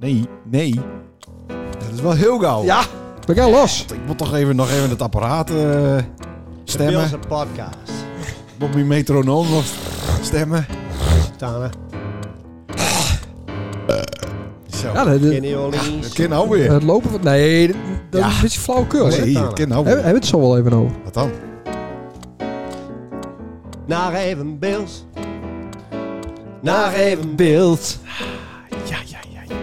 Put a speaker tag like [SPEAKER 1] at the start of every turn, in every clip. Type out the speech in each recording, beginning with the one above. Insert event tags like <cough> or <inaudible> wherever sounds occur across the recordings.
[SPEAKER 1] Nee, nee. Dat is wel heel gauw.
[SPEAKER 2] Ja,
[SPEAKER 3] Ben jij Oh. los?
[SPEAKER 1] Ik moet toch even, nog even het apparaat eh,
[SPEAKER 2] Bill
[SPEAKER 1] stemmen.
[SPEAKER 2] een podcast.
[SPEAKER 1] Op mijn metronoom nog stemmen.
[SPEAKER 2] Tana,
[SPEAKER 1] Zo.
[SPEAKER 3] Ja, dat,
[SPEAKER 2] Kenny
[SPEAKER 1] Dat
[SPEAKER 2] Orleans.
[SPEAKER 1] kan nou weer.
[SPEAKER 3] het lopen van... Nee, dat dat is
[SPEAKER 1] Ja.
[SPEAKER 3] een beetje flauwekul. hè?
[SPEAKER 1] Nee, dat kan nou
[SPEAKER 3] Hebben
[SPEAKER 1] weer.
[SPEAKER 3] hebben we het zo wel even over?
[SPEAKER 1] Wat dan?
[SPEAKER 2] Naar even beeld. Naar even beeld.
[SPEAKER 1] Ja, ja, ja.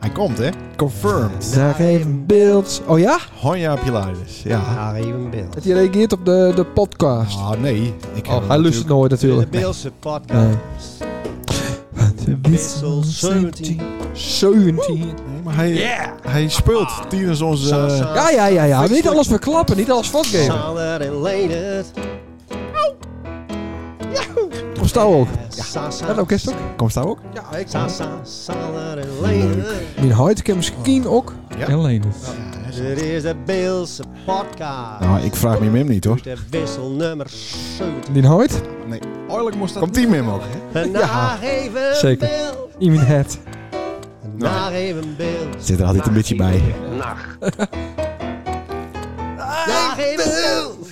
[SPEAKER 1] Hij komt, hè? Confirmed.
[SPEAKER 3] Daar even beeld. Oh ja?
[SPEAKER 1] Honja Pilaris. Ja.
[SPEAKER 2] Naar even beeld.
[SPEAKER 3] Het je reageert op de, de podcast.
[SPEAKER 1] Ah, nee. Ik heb
[SPEAKER 3] Oh,
[SPEAKER 1] hem
[SPEAKER 3] hij
[SPEAKER 1] natuurlijk-
[SPEAKER 3] luistert nooit
[SPEAKER 2] De
[SPEAKER 3] natuurlijk.
[SPEAKER 2] Beelse podcast.
[SPEAKER 3] <laughs>
[SPEAKER 2] Wissel 17.
[SPEAKER 3] 17.
[SPEAKER 1] Nee, maar hij, hij speelt tijdens onze...
[SPEAKER 2] Sasa,
[SPEAKER 3] Ja, ja, ja, ja. Niet alles verklappen, niet alles vastgeven.
[SPEAKER 2] Sander en Leendert.
[SPEAKER 3] Op stouw ook.
[SPEAKER 2] Sasa.
[SPEAKER 3] Dat orkest ook.
[SPEAKER 1] Komt daar ook?
[SPEAKER 3] Ja, ik
[SPEAKER 2] Sasa, Sander en Leendert.
[SPEAKER 3] Mijn huid kan misschien ook.
[SPEAKER 1] Ja.
[SPEAKER 4] En Leendert.
[SPEAKER 2] Dit is de Beelse podcast.
[SPEAKER 1] Nou, ik vraag me Mim niet, hoor.
[SPEAKER 2] De wissel nummer 17.
[SPEAKER 3] Mijn huid?
[SPEAKER 1] Nee. Oorlijk moest dat... Komt die Mim ook?
[SPEAKER 2] Naar even
[SPEAKER 4] zeker.
[SPEAKER 2] beeld.
[SPEAKER 3] In mijn head. Nou.
[SPEAKER 2] Naar even beeld.
[SPEAKER 1] Zit er altijd een beetje bij.
[SPEAKER 4] Ah,
[SPEAKER 2] Naar even beeld.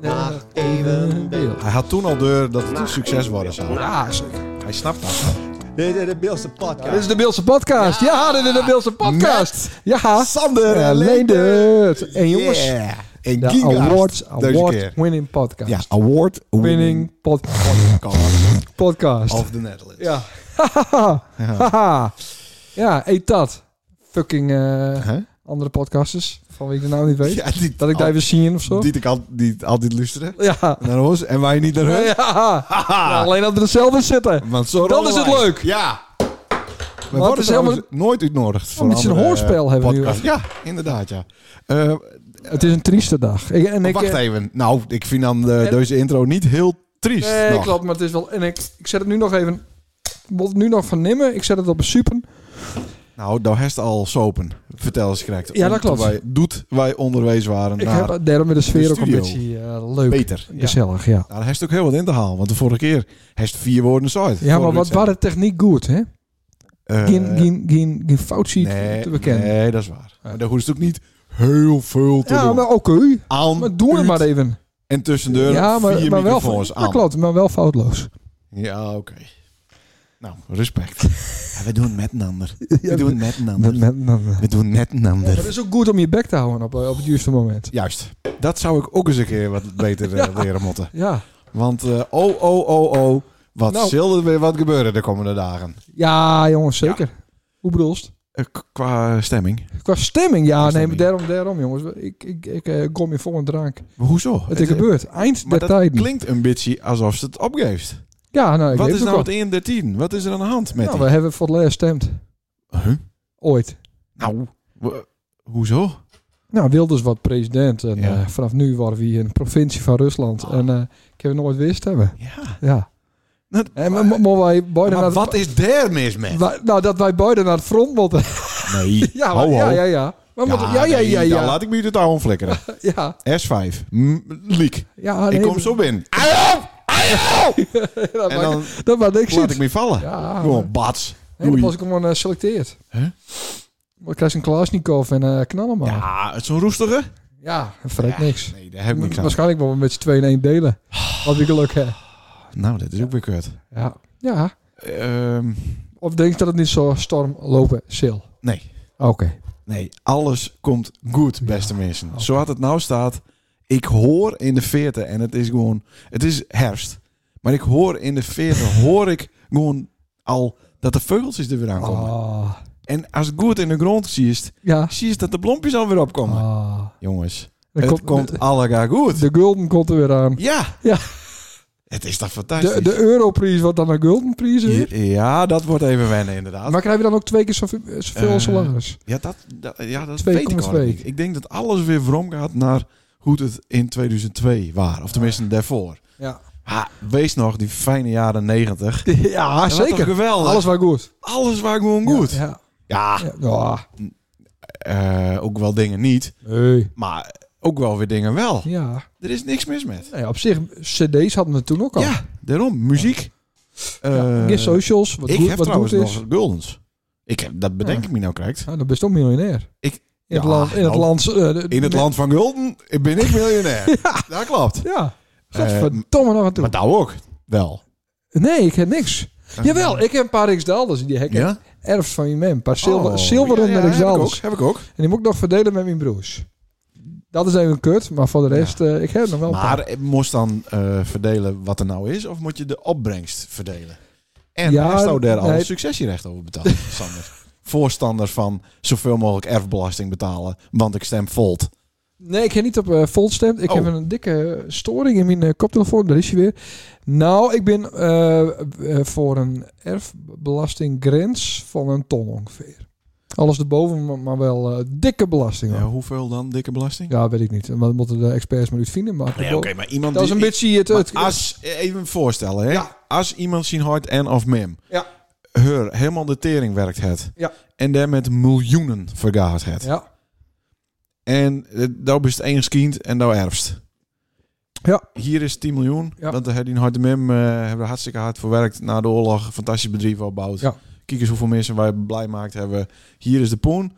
[SPEAKER 2] Naar even beeld.
[SPEAKER 1] Hij had toen al deur dat het een succes worden zou.
[SPEAKER 3] Ja, zeker.
[SPEAKER 1] Hij snapt dat.
[SPEAKER 2] Dit is de Beelse podcast.
[SPEAKER 3] Dit is de Beelse podcast. Ja, dit is de Beelse podcast. Ja.
[SPEAKER 1] Sander
[SPEAKER 3] Ja, Leendert. En jongens,
[SPEAKER 1] Yeah. En
[SPEAKER 3] de
[SPEAKER 1] Giga.
[SPEAKER 3] awards,
[SPEAKER 1] Deze keer.
[SPEAKER 3] award winning podcast.
[SPEAKER 1] Ja, award
[SPEAKER 3] Winning pod-
[SPEAKER 1] podcast
[SPEAKER 3] podcast.
[SPEAKER 1] of the Netherlands.
[SPEAKER 3] Ja. Haha. <laughs> ja, eet dat. Fucking eh,
[SPEAKER 1] Huh?
[SPEAKER 3] andere podcasters, van wie ik de naam niet weet.
[SPEAKER 1] Ja, die,
[SPEAKER 3] Dat ik daar even zie of zo.
[SPEAKER 1] Die ik al, die altijd luisteren
[SPEAKER 3] Ja.
[SPEAKER 1] naar ons en wij niet naar hun.
[SPEAKER 3] Ja. Ja, alleen dat we er zelf in zitten.
[SPEAKER 1] Want zo
[SPEAKER 3] Dan
[SPEAKER 1] rollen
[SPEAKER 3] is het
[SPEAKER 1] wij.
[SPEAKER 3] leuk.
[SPEAKER 1] Ja. We
[SPEAKER 3] Want het
[SPEAKER 1] worden
[SPEAKER 3] is
[SPEAKER 1] trouwens
[SPEAKER 3] helemaal-
[SPEAKER 1] nooit uitnodigd voor
[SPEAKER 3] een beetje een
[SPEAKER 1] andere,
[SPEAKER 3] hoorspel
[SPEAKER 1] eh,
[SPEAKER 3] hebben we nu
[SPEAKER 1] podcast. Ja, inderdaad, ja. Eh,
[SPEAKER 3] Het is een trieste dag. Ik, en ik,
[SPEAKER 1] wacht
[SPEAKER 3] eh,
[SPEAKER 1] even. Nou, ik vind dan eh,
[SPEAKER 3] en-
[SPEAKER 1] deze intro niet heel triest.
[SPEAKER 3] Nee,
[SPEAKER 1] nog.
[SPEAKER 3] klopt, maar het is wel... En ik, ik zet het nu nog even... Ik moet het nu nog van nimmen. Ik zet het op een super.
[SPEAKER 1] Nou, daar heeft al sopen. Vertel eens, correct.
[SPEAKER 3] Ja, dat klopt.
[SPEAKER 1] Wij, doet wij onderwezen waren
[SPEAKER 3] Ik
[SPEAKER 1] naar
[SPEAKER 3] heb daarom met de sfeer
[SPEAKER 1] de
[SPEAKER 3] ook een
[SPEAKER 1] studio.
[SPEAKER 3] beetje eh, leuk.
[SPEAKER 1] beter. Ja.
[SPEAKER 3] Gezellig, ja.
[SPEAKER 1] Nou, daar heeft ook heel wat in te halen. Want de vorige keer heeft vier woorden zo uit.
[SPEAKER 3] Ja, maar wat was
[SPEAKER 1] waren?
[SPEAKER 3] de techniek goed, hè? Geen, geen, geen, geen fout ziet
[SPEAKER 1] Eh, nee,
[SPEAKER 3] te bekennen.
[SPEAKER 1] Nee, dat is waar. Maar daar hoeft het ook niet heel veel te
[SPEAKER 3] Ja,
[SPEAKER 1] doen.
[SPEAKER 3] maar oké.
[SPEAKER 1] aan,
[SPEAKER 3] Maar doe het
[SPEAKER 1] uit
[SPEAKER 3] maar even.
[SPEAKER 1] En tussendoor
[SPEAKER 3] Ja, maar,
[SPEAKER 1] vier
[SPEAKER 3] maar wel
[SPEAKER 1] microfoons
[SPEAKER 3] maar
[SPEAKER 1] aan.
[SPEAKER 3] klopt, maar wel foutloos.
[SPEAKER 1] Ja, oké. Nou,
[SPEAKER 3] <laughs>
[SPEAKER 1] respect. Ja, we doen het met een ander. We doen het met een
[SPEAKER 3] Met-
[SPEAKER 1] ander.
[SPEAKER 3] met- met- met-
[SPEAKER 1] We doen het met een
[SPEAKER 3] Maar
[SPEAKER 1] ander.
[SPEAKER 3] het is ook goed om je bek te houden op, eh, op het juiste moment.
[SPEAKER 1] Juist. Dat zou ik ook eens een keer wat
[SPEAKER 3] <laughs>
[SPEAKER 1] beter eh, leren motten.
[SPEAKER 3] Ja,
[SPEAKER 1] Want eh, oh, oh, oh, oh. Wat
[SPEAKER 3] Nou.
[SPEAKER 1] zal er weer wat gebeuren de komende dagen?
[SPEAKER 3] ja jongens, zeker. Hoe bedoelst?
[SPEAKER 1] Eh, k- qua stemming.
[SPEAKER 3] Qua stemming, ja, nee,
[SPEAKER 1] stemming.
[SPEAKER 3] maar daarom, daarom jongens. Ik, ik, ik eh, kom in volle drank.
[SPEAKER 1] Maar hoezo?
[SPEAKER 3] Het is gebeurd. Eind
[SPEAKER 1] Maar
[SPEAKER 3] der
[SPEAKER 1] dat
[SPEAKER 3] tijden.
[SPEAKER 1] klinkt een beetje alsof ze het opgeeft.
[SPEAKER 3] Ja, nou, ik
[SPEAKER 1] Wat
[SPEAKER 3] weet
[SPEAKER 1] is
[SPEAKER 3] het
[SPEAKER 1] nou
[SPEAKER 3] ook
[SPEAKER 1] het 1 der 10? Wat is er aan de hand met
[SPEAKER 3] wel. Nou,
[SPEAKER 1] die?
[SPEAKER 3] we hebben voor het laatst gestemd.
[SPEAKER 1] Huh?
[SPEAKER 3] Ooit.
[SPEAKER 1] Nou, we- hoezo?
[SPEAKER 3] Nou, Wilders wordt president. En
[SPEAKER 1] Ja. Ah.
[SPEAKER 3] eh, vanaf nu worden we hier een provincie van Rusland. En eh, ik heb het nooit wist hebben.
[SPEAKER 1] Ja.
[SPEAKER 3] Ja. nou,
[SPEAKER 1] Dat-
[SPEAKER 3] en maar, maar, maar wij beide naar
[SPEAKER 1] Maar
[SPEAKER 3] het-
[SPEAKER 1] wat is daar mis mee?
[SPEAKER 3] wij- nou, dat wij beide naar het front moeten. <laughs>
[SPEAKER 1] Nee.
[SPEAKER 3] ja, maar-
[SPEAKER 1] ho, ho.
[SPEAKER 3] ja, ja, ja. Maar moeten- ja, ja,
[SPEAKER 1] nee,
[SPEAKER 3] ja,
[SPEAKER 1] Dan
[SPEAKER 3] ja.
[SPEAKER 1] laat ik me uit het touw omflikkeren.
[SPEAKER 3] Ja,
[SPEAKER 1] S5. M, leak.
[SPEAKER 3] ja. Ah, nee, Ah,
[SPEAKER 1] ik kom zo binnen. Auw! Auw!
[SPEAKER 3] <laughs> Dat
[SPEAKER 1] En dan
[SPEAKER 3] maakt- dat maakt niks
[SPEAKER 1] laat
[SPEAKER 3] uit.
[SPEAKER 1] ik me vallen.
[SPEAKER 3] Ja.
[SPEAKER 1] Gewoon bats.
[SPEAKER 3] En dan
[SPEAKER 1] Doei.
[SPEAKER 3] pas ik hem gewoon eh, selecteerd.
[SPEAKER 1] Hè?
[SPEAKER 3] Dan krijg je een Klasnikov en eh knallen maar. Ja,
[SPEAKER 1] Ja, het zo'n roestige.
[SPEAKER 3] dat vreet niks.
[SPEAKER 1] Nee, daar heb ik Ah. niks aan.
[SPEAKER 3] Waarschijnlijk wel met z'n tweeën in één delen. Wat ik geluk heb.
[SPEAKER 1] Nou, dat is ook weer kut.
[SPEAKER 3] Ja. ja.
[SPEAKER 1] Ehm,
[SPEAKER 3] Of denk je dat het niet zo storm lopen zal?
[SPEAKER 1] nee.
[SPEAKER 3] Oké.
[SPEAKER 1] Nee, alles komt goed, beste mensen. Zo had het nou staat. Ik hoor in de veertig en het is gewoon... Het is herfst. Maar ik hoor in de <laughs> veertig, hoor ik gewoon al dat de vogeltjes er weer aankomen.
[SPEAKER 3] Ah.
[SPEAKER 1] En als het goed in de grond ziet,
[SPEAKER 3] Ja.
[SPEAKER 1] zie je dat de bloempjes alweer opkomen.
[SPEAKER 3] Ah.
[SPEAKER 1] Jongens,
[SPEAKER 3] Dan
[SPEAKER 1] het Oh. komt
[SPEAKER 3] de,
[SPEAKER 1] allegaar goed.
[SPEAKER 3] de gulden komt er weer aan.
[SPEAKER 1] ja.
[SPEAKER 3] Ja.
[SPEAKER 1] Het is toch
[SPEAKER 3] De,
[SPEAKER 1] fantastisch.
[SPEAKER 3] de europrijs wordt dan een guldenprijs. hè?
[SPEAKER 1] ja, dat wordt even wennen inderdaad.
[SPEAKER 3] Maar krijg je dan ook twee keer zoveel zoveel
[SPEAKER 1] Eh,
[SPEAKER 3] salaris?
[SPEAKER 1] Ja, dat, dat, ja, dat
[SPEAKER 3] 2,2.
[SPEAKER 1] weet ik al niet. Ik denk dat alles weer vrom gaat naar hoe het in 2002 was. Of tenminste daarvoor.
[SPEAKER 3] Ja,
[SPEAKER 1] Ha, wees nog die fijne jaren 90.
[SPEAKER 3] <laughs> ja
[SPEAKER 1] Dat was toch
[SPEAKER 3] Ah, zeker.
[SPEAKER 1] geweldig. Alles,
[SPEAKER 3] Alles was goed.
[SPEAKER 1] alles was gewoon goed. Ah. Ja,
[SPEAKER 3] Ja. ja. ja.
[SPEAKER 1] eh, ook wel dingen niet.
[SPEAKER 3] Nee.
[SPEAKER 1] Maar ook wel weer dingen wel.
[SPEAKER 3] Ja.
[SPEAKER 1] Er is niks mis met.
[SPEAKER 3] Nou ja, op zich, cd's hadden we toen ook al.
[SPEAKER 1] Ja, daarom. Muziek. Eh,
[SPEAKER 3] Ja, Gear socials, wat
[SPEAKER 1] ik
[SPEAKER 3] goed,
[SPEAKER 1] heb
[SPEAKER 3] wat goed
[SPEAKER 1] trouwens
[SPEAKER 3] is.
[SPEAKER 1] nog guldens. Ik heb, dat bedenk
[SPEAKER 3] Ja.
[SPEAKER 1] ik me nou correct.
[SPEAKER 3] Nou, dan ben je toch miljonair.
[SPEAKER 1] Ik-
[SPEAKER 3] in het
[SPEAKER 1] Ja,
[SPEAKER 3] land, in het
[SPEAKER 1] nou,
[SPEAKER 3] land, eh, de-
[SPEAKER 1] In het
[SPEAKER 3] met-
[SPEAKER 1] land van Gulden ben ik miljonair. Dat klopt.
[SPEAKER 3] <laughs> Ja. Godverdomme nog aan toe.
[SPEAKER 1] Eh, Maar nou ook. Wel.
[SPEAKER 3] Nee, ik heb niks. Jawel, ik heb een paar riksdalders. Die heb ik
[SPEAKER 1] Ja?
[SPEAKER 3] erfst van mijn man. Een paar zilver,
[SPEAKER 1] Oh,
[SPEAKER 3] zilveren
[SPEAKER 1] ja, ja, heb ik ook.
[SPEAKER 3] riksdalders.
[SPEAKER 1] Heb ik ook.
[SPEAKER 3] En die moet ik nog verdelen met mijn broers. Dat is even kut, maar voor de rest, eh, ik heb nog wel een paar.
[SPEAKER 1] Maar eh, moest dan eh, verdelen wat er nou is? Of moet je de opbrengst verdelen? En
[SPEAKER 3] Ja,
[SPEAKER 1] heeft jou daar al
[SPEAKER 3] nee.
[SPEAKER 1] het successierecht over
[SPEAKER 3] <laughs>
[SPEAKER 1] betaald, Sander? Voorstander van zoveel mogelijk erfbelasting betalen, want ik stem volt.
[SPEAKER 3] Nee, ik heb niet op eh Volt gestemd. Ik
[SPEAKER 1] Oh.
[SPEAKER 3] heb een dikke storing in mijn eh, koptelefoon. Daar is hij weer. Nou, ik ben eh, eh, voor een erfbelastinggrens van een ton ongeveer. Alles erboven, maar- maar wel eh, dikke belasting. hoor.
[SPEAKER 1] Ja, hoeveel dan, dikke belasting?
[SPEAKER 3] Ja, weet ik niet. Maar Dat moeten de experts maar uitvinden. Maar
[SPEAKER 1] Nee, oké, maar iemand
[SPEAKER 3] dat is een
[SPEAKER 1] die-
[SPEAKER 3] beetje het...
[SPEAKER 1] Maar
[SPEAKER 3] het
[SPEAKER 1] als, even voorstellen, hè?
[SPEAKER 3] Ja.
[SPEAKER 1] als iemand zijn hart en of mem,
[SPEAKER 3] Ja.
[SPEAKER 1] heur, helemaal de tering werkt het,
[SPEAKER 3] Ja.
[SPEAKER 1] en daar met miljoenen vergaat het,
[SPEAKER 3] ja. <laughs>
[SPEAKER 1] en eh, nou bist eens kind en nou erfst.
[SPEAKER 3] Ja.
[SPEAKER 1] Hier is 10 miljoen,
[SPEAKER 3] Ja.
[SPEAKER 1] want daar hebben die hart en mem eh, hebben we hartstikke hard voor werkt na de oorlog, fantastisch bedrijf opgebouwd.
[SPEAKER 3] Ja.
[SPEAKER 1] Kijk eens hoeveel mensen wij blij maakt hebben. Hier is de poen.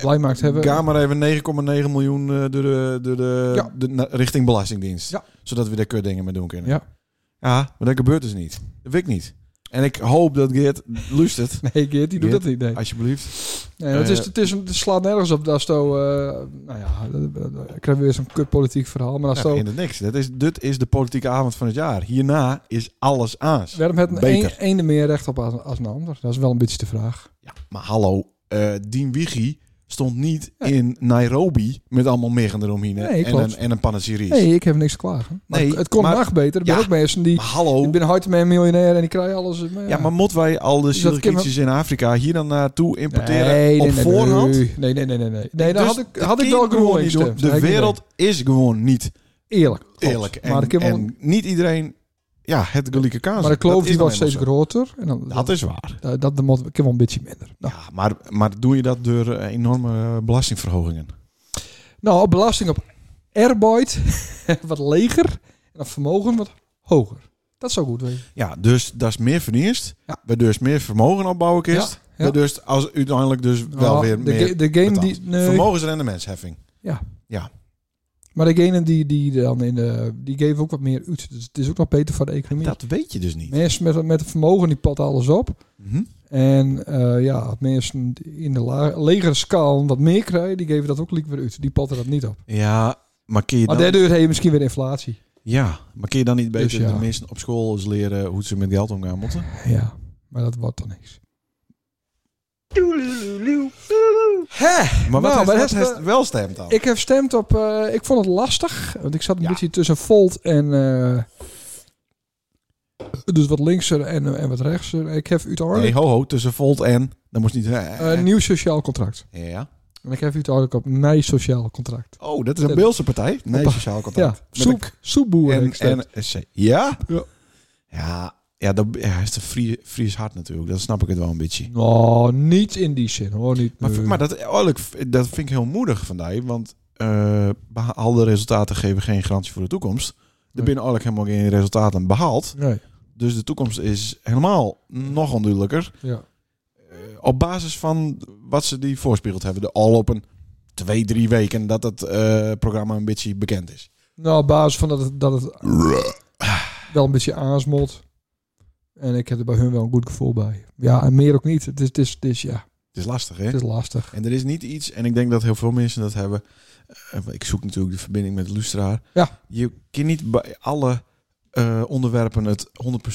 [SPEAKER 3] Blij maakt hebben.
[SPEAKER 1] Ga maar even 9,9 miljoen eh, door de, door de,
[SPEAKER 3] Ja.
[SPEAKER 1] de- na- richting Belastingdienst.
[SPEAKER 3] Ja.
[SPEAKER 1] Zodat we daar kut dingen mee doen kunnen.
[SPEAKER 3] Ja.
[SPEAKER 1] Ja, maar dat gebeurt dus niet. Dat weet ik niet. En ik hoop dat Geert luistert,
[SPEAKER 3] Nee, Geert, die doet
[SPEAKER 1] Geert,
[SPEAKER 3] dat niet. Nee.
[SPEAKER 1] alsjeblieft.
[SPEAKER 3] Nee, het, is,
[SPEAKER 1] Eh,
[SPEAKER 3] het, is, een- het slaat nergens op. Dat is zo, eh, nou ja, dan krijgen we weer zo'n kut politiek verhaal. Maar dat is
[SPEAKER 1] Ja,
[SPEAKER 3] zo-
[SPEAKER 1] in het niks. Dat is, dit is de politieke avond van het jaar. Hierna is alles aans.
[SPEAKER 3] Waarom heeft een
[SPEAKER 1] Beter.
[SPEAKER 3] een- ene meer recht op als, als een ander? Dat is wel een beetje de vraag.
[SPEAKER 1] Ja, maar hallo, eh Dien Wiggy stond niet in Nairobi met allemaal miggen eromheen hè,
[SPEAKER 3] Nee,
[SPEAKER 1] en,
[SPEAKER 3] klopt.
[SPEAKER 1] een, en een panasiris.
[SPEAKER 3] Nee, ik heb niks te klagen. Maar
[SPEAKER 1] Nee,
[SPEAKER 3] het- het kon
[SPEAKER 1] maar-
[SPEAKER 3] nog beter. Er zijn
[SPEAKER 1] Ja.
[SPEAKER 3] ook mensen die...
[SPEAKER 1] Maar hallo,
[SPEAKER 3] Ik ben hard met een miljonair en die krijgen alles. Maar ja.
[SPEAKER 1] ja, maar moeten wij al de
[SPEAKER 3] Dus dat kunnen we-
[SPEAKER 1] Syrikitjes in Afrika hier dan naartoe importeren
[SPEAKER 3] nee,
[SPEAKER 1] op
[SPEAKER 3] nee, nee,
[SPEAKER 1] voorhand?
[SPEAKER 3] Nee, nee, nee. nee, nee. nee dan
[SPEAKER 1] Dus
[SPEAKER 3] had ik,
[SPEAKER 1] dat
[SPEAKER 3] had ik
[SPEAKER 1] kun
[SPEAKER 3] wel
[SPEAKER 1] je gewoon
[SPEAKER 3] GroenLinks
[SPEAKER 1] niet doen.
[SPEAKER 3] gestemd.
[SPEAKER 1] De
[SPEAKER 3] Nee, ik niet.
[SPEAKER 1] wereld is gewoon niet
[SPEAKER 3] Eerlijk. klopt.
[SPEAKER 1] eerlijk. En,
[SPEAKER 3] maar ik heb wel
[SPEAKER 1] en
[SPEAKER 3] een-
[SPEAKER 1] niet iedereen ja, het gelijke kans.
[SPEAKER 3] maar de kloof
[SPEAKER 1] Dat is
[SPEAKER 3] die
[SPEAKER 1] dan
[SPEAKER 3] wordt steeds
[SPEAKER 1] eenmaal zo.
[SPEAKER 3] groter. En dan,
[SPEAKER 1] Dat is waar.
[SPEAKER 3] dat, dat, dat moet- ik heb wel een beetje minder. Nou,
[SPEAKER 1] Ja, maar, maar doe je dat door eh, enorme eh, belastingverhogingen?
[SPEAKER 3] nou, belasting op airboyd <laughs> wat leger. En op vermogen wat hoger. Dat zou goed wezen.
[SPEAKER 1] Ja, dus dat is meer verdienst.
[SPEAKER 3] Ja.
[SPEAKER 1] Waar dus meer vermogen opbouwen is.
[SPEAKER 3] Ja, ja.
[SPEAKER 1] Waar Dus als uiteindelijk dus wel
[SPEAKER 3] Nou,
[SPEAKER 1] weer
[SPEAKER 3] de,
[SPEAKER 1] meer
[SPEAKER 3] ga- de game die...
[SPEAKER 1] betaald.
[SPEAKER 3] nee.
[SPEAKER 1] Vermogensrendementsheffing.
[SPEAKER 3] Maar degene die, die dan in de, die geven ook wat meer uit. Dus het is ook nog beter voor de economie.
[SPEAKER 1] Dat weet je dus niet.
[SPEAKER 3] Mensen met, met het vermogen die patten alles op.
[SPEAKER 1] Mhm.
[SPEAKER 3] En eh, ja, mensen die in de la- legere schaal wat meer krijgen, die geven dat ook liever weer uit. Die patten dat niet op.
[SPEAKER 1] Ja, maar kun je
[SPEAKER 3] Maar
[SPEAKER 1] dan,
[SPEAKER 3] daardoor heb je misschien weer inflatie.
[SPEAKER 1] ja, maar kun je dan niet beter
[SPEAKER 3] Dus ja.
[SPEAKER 1] de mensen op school eens leren hoe ze met geld omgaan moeten?
[SPEAKER 3] Ja, maar dat wordt dan niks. Hè?
[SPEAKER 1] Maar wat
[SPEAKER 3] Nou,
[SPEAKER 1] heeft, wat
[SPEAKER 3] maar dat-
[SPEAKER 1] heeft wel stemt dan?
[SPEAKER 3] Ik heb gestemd op... eh, ik vond het lastig, want ik zat een
[SPEAKER 1] Oh. Ja.
[SPEAKER 3] beetje tussen Volt en... eh, dus wat linkser en, en wat rechtser. Ik heb uiteindelijk...
[SPEAKER 1] Nee, ho, ho, tussen Volt en... Dat moest niet...
[SPEAKER 3] Eh, nieuw sociaal contract.
[SPEAKER 1] ja.
[SPEAKER 3] En ik heb u het ook op mijn sociaal contract.
[SPEAKER 1] Oh, dat is een Beelse partij. Nee,
[SPEAKER 3] Eh, Hoppa.
[SPEAKER 1] sociaal
[SPEAKER 3] Ja,
[SPEAKER 1] contact. Met een
[SPEAKER 3] soep, soepboer.
[SPEAKER 1] en,
[SPEAKER 3] heb ik gestemd.
[SPEAKER 1] en SC. Ja?
[SPEAKER 3] Ja.
[SPEAKER 1] Ja, ja dat ja, is een Fries, Fries hart natuurlijk. Dan snap ik het wel een beetje.
[SPEAKER 3] Oh, niet in die zin hoor. Niet,
[SPEAKER 1] Maar,
[SPEAKER 3] nee.
[SPEAKER 1] maar dat, eerlijk, dat vind ik heel moedig van jou, Want eh, behaalde resultaten geven geen garantie voor de toekomst. Er
[SPEAKER 3] Nee.
[SPEAKER 1] binnen eigenlijk helemaal geen resultaten behaald.
[SPEAKER 3] Nee,
[SPEAKER 1] Dus de toekomst is helemaal nog onduidelijker.
[SPEAKER 3] ja.
[SPEAKER 1] Eh, op basis van wat ze die voorspiegeld hebben. De al op een twee, drie weken dat het eh, programma een beetje bekend is.
[SPEAKER 3] Nou, op basis van dat het, dat het wel een beetje aansmot. En ik heb er bij hun wel een goed gevoel bij. Ja, en meer ook niet. Het is, het is, het is, ja,
[SPEAKER 1] Het is lastig, hè?
[SPEAKER 3] het is lastig.
[SPEAKER 1] En er is niet iets, en ik denk dat heel veel mensen dat hebben. eh, ik zoek natuurlijk de verbinding met de luisteraar.
[SPEAKER 3] Ja.
[SPEAKER 1] Je kan niet bij alle eh, onderwerpen het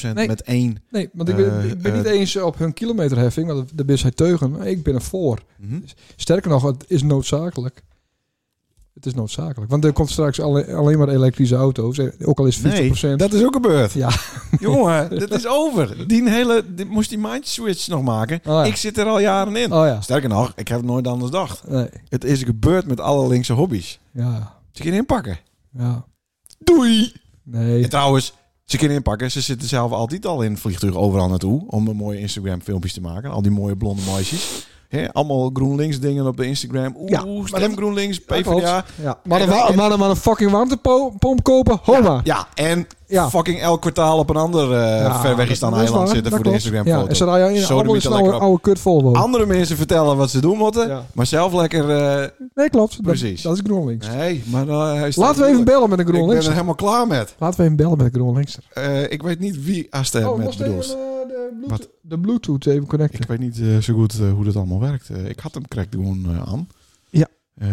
[SPEAKER 1] 100%
[SPEAKER 3] Nee.
[SPEAKER 1] met één.
[SPEAKER 3] Nee, want ik ben,
[SPEAKER 1] Eh,
[SPEAKER 3] ik ben
[SPEAKER 1] eh.
[SPEAKER 3] niet eens op hun kilometerheffing. Want daar ben hij teugen. Ik ben er voor.
[SPEAKER 1] Mhm.
[SPEAKER 3] Sterker nog, het is noodzakelijk. Het is noodzakelijk. Want er komt straks alle- alleen maar elektrische auto's. En Ook al is 50%.
[SPEAKER 1] Nee, dat is ook gebeurd.
[SPEAKER 3] Ja.
[SPEAKER 1] <laughs> Jongen, dat is over. Die hele, die, moest die mind switch nog maken.
[SPEAKER 3] Oh ja.
[SPEAKER 1] Ik zit er al jaren in.
[SPEAKER 3] Oh ja.
[SPEAKER 1] Sterker nog, ik heb het nooit anders gedacht.
[SPEAKER 3] Nee.
[SPEAKER 1] Het is gebeurd met alle linkse hobby's.
[SPEAKER 3] Ja.
[SPEAKER 1] Ze kunnen inpakken.
[SPEAKER 3] Ja.
[SPEAKER 1] Doei!
[SPEAKER 3] Nee.
[SPEAKER 1] En trouwens, ze kunnen inpakken. Ze zitten zelf altijd al in het vliegtuig overal naartoe. Om een mooie Instagram filmpjes te maken. Al die mooie blonde meisjes. hè, allemaal GroenLinks dingen op de Instagram. Oeh,
[SPEAKER 3] Ja,
[SPEAKER 1] stem
[SPEAKER 3] maar dat-
[SPEAKER 1] GroenLinks,
[SPEAKER 3] dat
[SPEAKER 1] PvdA.
[SPEAKER 3] Ja. Maar, een, wa- maar, een, maar een fucking warmtepomp kopen, homa.
[SPEAKER 1] Ja, en
[SPEAKER 3] Ja.
[SPEAKER 1] fuking elk kwartaal op een ander eh
[SPEAKER 3] Ja,
[SPEAKER 1] ver weg is dan
[SPEAKER 3] dat is
[SPEAKER 1] eiland
[SPEAKER 3] waar,
[SPEAKER 1] zitten
[SPEAKER 3] dat
[SPEAKER 1] voor
[SPEAKER 3] oh.
[SPEAKER 1] de
[SPEAKER 3] klopt.
[SPEAKER 1] Instagram
[SPEAKER 3] Ja, en ze
[SPEAKER 1] foto.
[SPEAKER 3] rijden in
[SPEAKER 1] Sodemiet al
[SPEAKER 3] allemaal een oude,
[SPEAKER 1] lekker op.
[SPEAKER 3] oude kut Volvo.
[SPEAKER 1] Andere mensen vertellen wat ze doen moeten,
[SPEAKER 2] Ja.
[SPEAKER 1] maar zelf lekker... eh,
[SPEAKER 3] nee, klopt. Dat-
[SPEAKER 1] Precies.
[SPEAKER 3] Dat, is GroenLinks.
[SPEAKER 1] nee, maar eh, hij staat
[SPEAKER 3] Laten we even
[SPEAKER 1] moeilijk.
[SPEAKER 3] bellen met
[SPEAKER 1] Ik
[SPEAKER 3] een
[SPEAKER 1] ben er
[SPEAKER 3] GroenLinks.
[SPEAKER 1] helemaal klaar met.
[SPEAKER 3] Laten we even bellen met een GroenLinks.
[SPEAKER 1] Eh, ik weet niet wie
[SPEAKER 3] Eh,
[SPEAKER 1] Astel
[SPEAKER 3] Oh,
[SPEAKER 1] met bedoelt.
[SPEAKER 3] de,
[SPEAKER 1] Wat?
[SPEAKER 3] Bluetooth, de Bluetooth even connecten.
[SPEAKER 1] Ik weet niet eh, zo goed eh, hoe dat allemaal werkt. Eh, ik had hem correct gewoon eh, aan.
[SPEAKER 3] Ja.
[SPEAKER 1] Eh,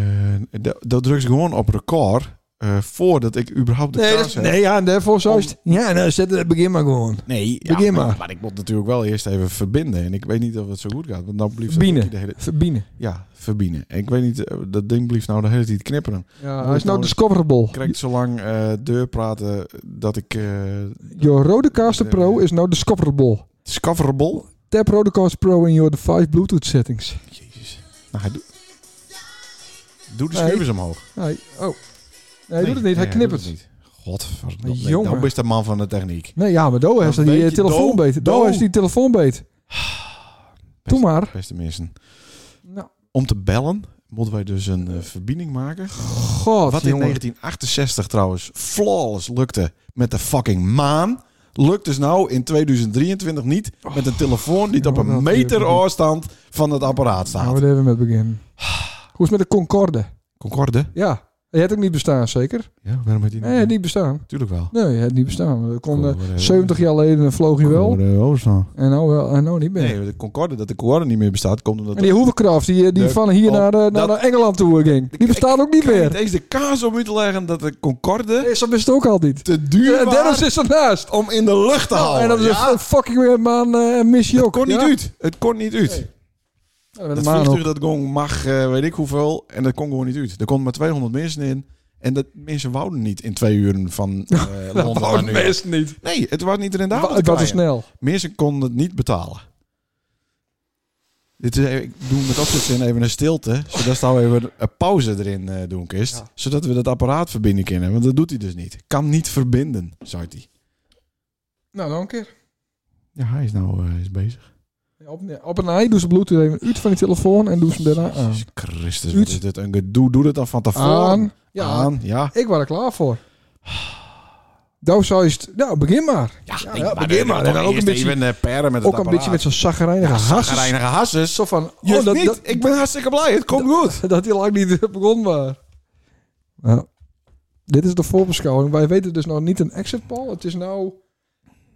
[SPEAKER 1] dat- dat drukt gewoon op record eh, voordat ik überhaupt de
[SPEAKER 3] nee, dat
[SPEAKER 1] kans
[SPEAKER 3] is-
[SPEAKER 1] heb.
[SPEAKER 3] nee, ja, en daarvoor zo is het. Ja, nou, zet het begin maar gewoon.
[SPEAKER 1] Nee, ja,
[SPEAKER 3] Begin
[SPEAKER 1] maar.
[SPEAKER 3] maar.
[SPEAKER 1] maar ik moet natuurlijk wel eerst even verbinden. En ik weet niet of het zo goed gaat. Want dan blijft
[SPEAKER 3] Verbienen.
[SPEAKER 1] dat ding de hele-
[SPEAKER 3] Verbienen.
[SPEAKER 1] ja, verbinden. En ik weet niet, eh, dat ding blijft nou de hele tijd knipperen.
[SPEAKER 3] Ja,
[SPEAKER 1] dat
[SPEAKER 3] hij
[SPEAKER 1] is
[SPEAKER 3] is nou
[SPEAKER 1] nou-
[SPEAKER 3] discoverable.
[SPEAKER 1] Ik krijg zo lang eh, deur praten dat ik... eh
[SPEAKER 3] Your Rodecaster Pro is nou discoverable.
[SPEAKER 1] discoverable?
[SPEAKER 3] Tap Rodecaster Pro in your device Bluetooth settings.
[SPEAKER 1] Jezus. Nou, hij doet... Doe de
[SPEAKER 3] Nee.
[SPEAKER 1] schuivers omhoog.
[SPEAKER 3] Hij, oh. Nee, hij doet het niet. Hij
[SPEAKER 1] doet
[SPEAKER 3] knippert.
[SPEAKER 1] het niet. Godverdomme.
[SPEAKER 3] Maar jongen.
[SPEAKER 1] Dan is de man van de techniek.
[SPEAKER 3] Nee, ja, maar Doe heeft
[SPEAKER 1] Een
[SPEAKER 3] die eh,
[SPEAKER 1] beetje
[SPEAKER 3] telefoonbeet.
[SPEAKER 1] Doe.
[SPEAKER 3] Doe
[SPEAKER 1] Doe.
[SPEAKER 3] heeft die telefoonbeet. Doe maar.
[SPEAKER 1] Beste mensen.
[SPEAKER 3] Nou,
[SPEAKER 1] Om te bellen moeten wij dus een eh, verbinding maken.
[SPEAKER 3] god,
[SPEAKER 1] Wat in
[SPEAKER 3] jongen.
[SPEAKER 1] 1968 trouwens flawless lukte met de fucking maan... lukt dus nou in 2023 niet met een telefoon die op
[SPEAKER 3] Oh, jongen,
[SPEAKER 1] een
[SPEAKER 3] dat
[SPEAKER 1] meter
[SPEAKER 3] duurt niet.
[SPEAKER 1] afstand van het apparaat
[SPEAKER 3] Gaan we
[SPEAKER 1] staat.
[SPEAKER 3] er even met beginnen. Hoe is het met de Concorde?
[SPEAKER 1] Concorde?
[SPEAKER 3] Ja. Je hebt ook niet bestaan, zeker?
[SPEAKER 1] Ja, waarom heeft die
[SPEAKER 3] Nee, je hebt niet bestaan.
[SPEAKER 1] Tuurlijk wel.
[SPEAKER 3] Nee, je hebt niet bestaan. Er kon, eh,
[SPEAKER 1] Concorde, eh,
[SPEAKER 3] 70 jaar geleden vloog je wel.
[SPEAKER 1] Concorde, eh, overstaan.
[SPEAKER 3] En nou wel, en nou niet meer.
[SPEAKER 1] Nee, de Concorde, dat de Concorde niet meer bestaat, komt omdat...
[SPEAKER 3] En die hoeverkracht die, eh, die
[SPEAKER 1] De-
[SPEAKER 3] van hier
[SPEAKER 1] oh,
[SPEAKER 3] naar, eh, naar,
[SPEAKER 1] dat-
[SPEAKER 3] naar Engeland toe ging. Die bestaat ook niet
[SPEAKER 1] Ik kan
[SPEAKER 3] meer.
[SPEAKER 1] niet eens de kaas om u te leggen dat de Concorde...
[SPEAKER 3] Nee, zo is het ook al niet.
[SPEAKER 1] te duur
[SPEAKER 3] Ja,
[SPEAKER 1] waren
[SPEAKER 3] Dennis is ernaast.
[SPEAKER 1] om in de lucht te
[SPEAKER 3] Nou,
[SPEAKER 1] houden.
[SPEAKER 3] en dat
[SPEAKER 1] Oh,
[SPEAKER 3] is
[SPEAKER 1] ja?
[SPEAKER 3] een fucking weer maan eh missie
[SPEAKER 1] Het
[SPEAKER 3] ook.
[SPEAKER 1] kon niet
[SPEAKER 3] ja?
[SPEAKER 1] uit. Het kon niet uit.
[SPEAKER 3] Ja, met
[SPEAKER 1] Dat
[SPEAKER 3] de maan
[SPEAKER 1] vliegtuig
[SPEAKER 3] ook.
[SPEAKER 1] dat gong mag, eh, weet ik hoeveel, en dat kon gewoon niet uit. Er kon maar 200 mensen in. En dat mensen wouden niet in twee uren <laughs> van eh Londen
[SPEAKER 2] oh,
[SPEAKER 1] naar New York.
[SPEAKER 3] Oh, Best niet.
[SPEAKER 1] Nee, het was niet
[SPEAKER 3] Wa-
[SPEAKER 1] rendabel te
[SPEAKER 3] Het was te
[SPEAKER 1] krijgen.
[SPEAKER 3] snel.
[SPEAKER 1] Mensen konden het niet betalen. Dit is, eh, ik doe met opzetzin even een stilte, zodat we nou even een pauze erin eh, doen, Kist.
[SPEAKER 3] Ja.
[SPEAKER 1] Zodat we dat apparaat verbinden kunnen, want dat doet hij dus niet. Kan niet verbinden, zei hij.
[SPEAKER 3] Nou, nog een keer.
[SPEAKER 1] Ja, hij is nou eh, hij is bezig.
[SPEAKER 3] Op, op en ei doe ze Bluetooth even uit van die telefoon en doe ze hem daarna aan.
[SPEAKER 1] Jezus Christus, wat
[SPEAKER 3] Uit.
[SPEAKER 1] is dit een gedoe. Doe dit dan van tevoren.
[SPEAKER 3] Ah. Aan. Ja,
[SPEAKER 1] Aan, ja.
[SPEAKER 3] ik was er klaar voor. Nou, zou je het... Nou, begin maar.
[SPEAKER 1] Ja,
[SPEAKER 3] nee, maar begin maar. En dan ook een beetje-
[SPEAKER 1] Even eh, peren met het
[SPEAKER 3] Ook een beetje met zo'n zagrijnige hasses.
[SPEAKER 1] Gereinige hasses.
[SPEAKER 3] Zo van... Oh,
[SPEAKER 1] Juist
[SPEAKER 3] dat,
[SPEAKER 1] niet.
[SPEAKER 3] dat,
[SPEAKER 1] ik ben hartstikke blij. Het komt goed.
[SPEAKER 3] <laughs> dat hij lang niet begon maar. Nou, dit is de voorbeschouwing. Wij weten dus nog niet een exit poll. Het is nou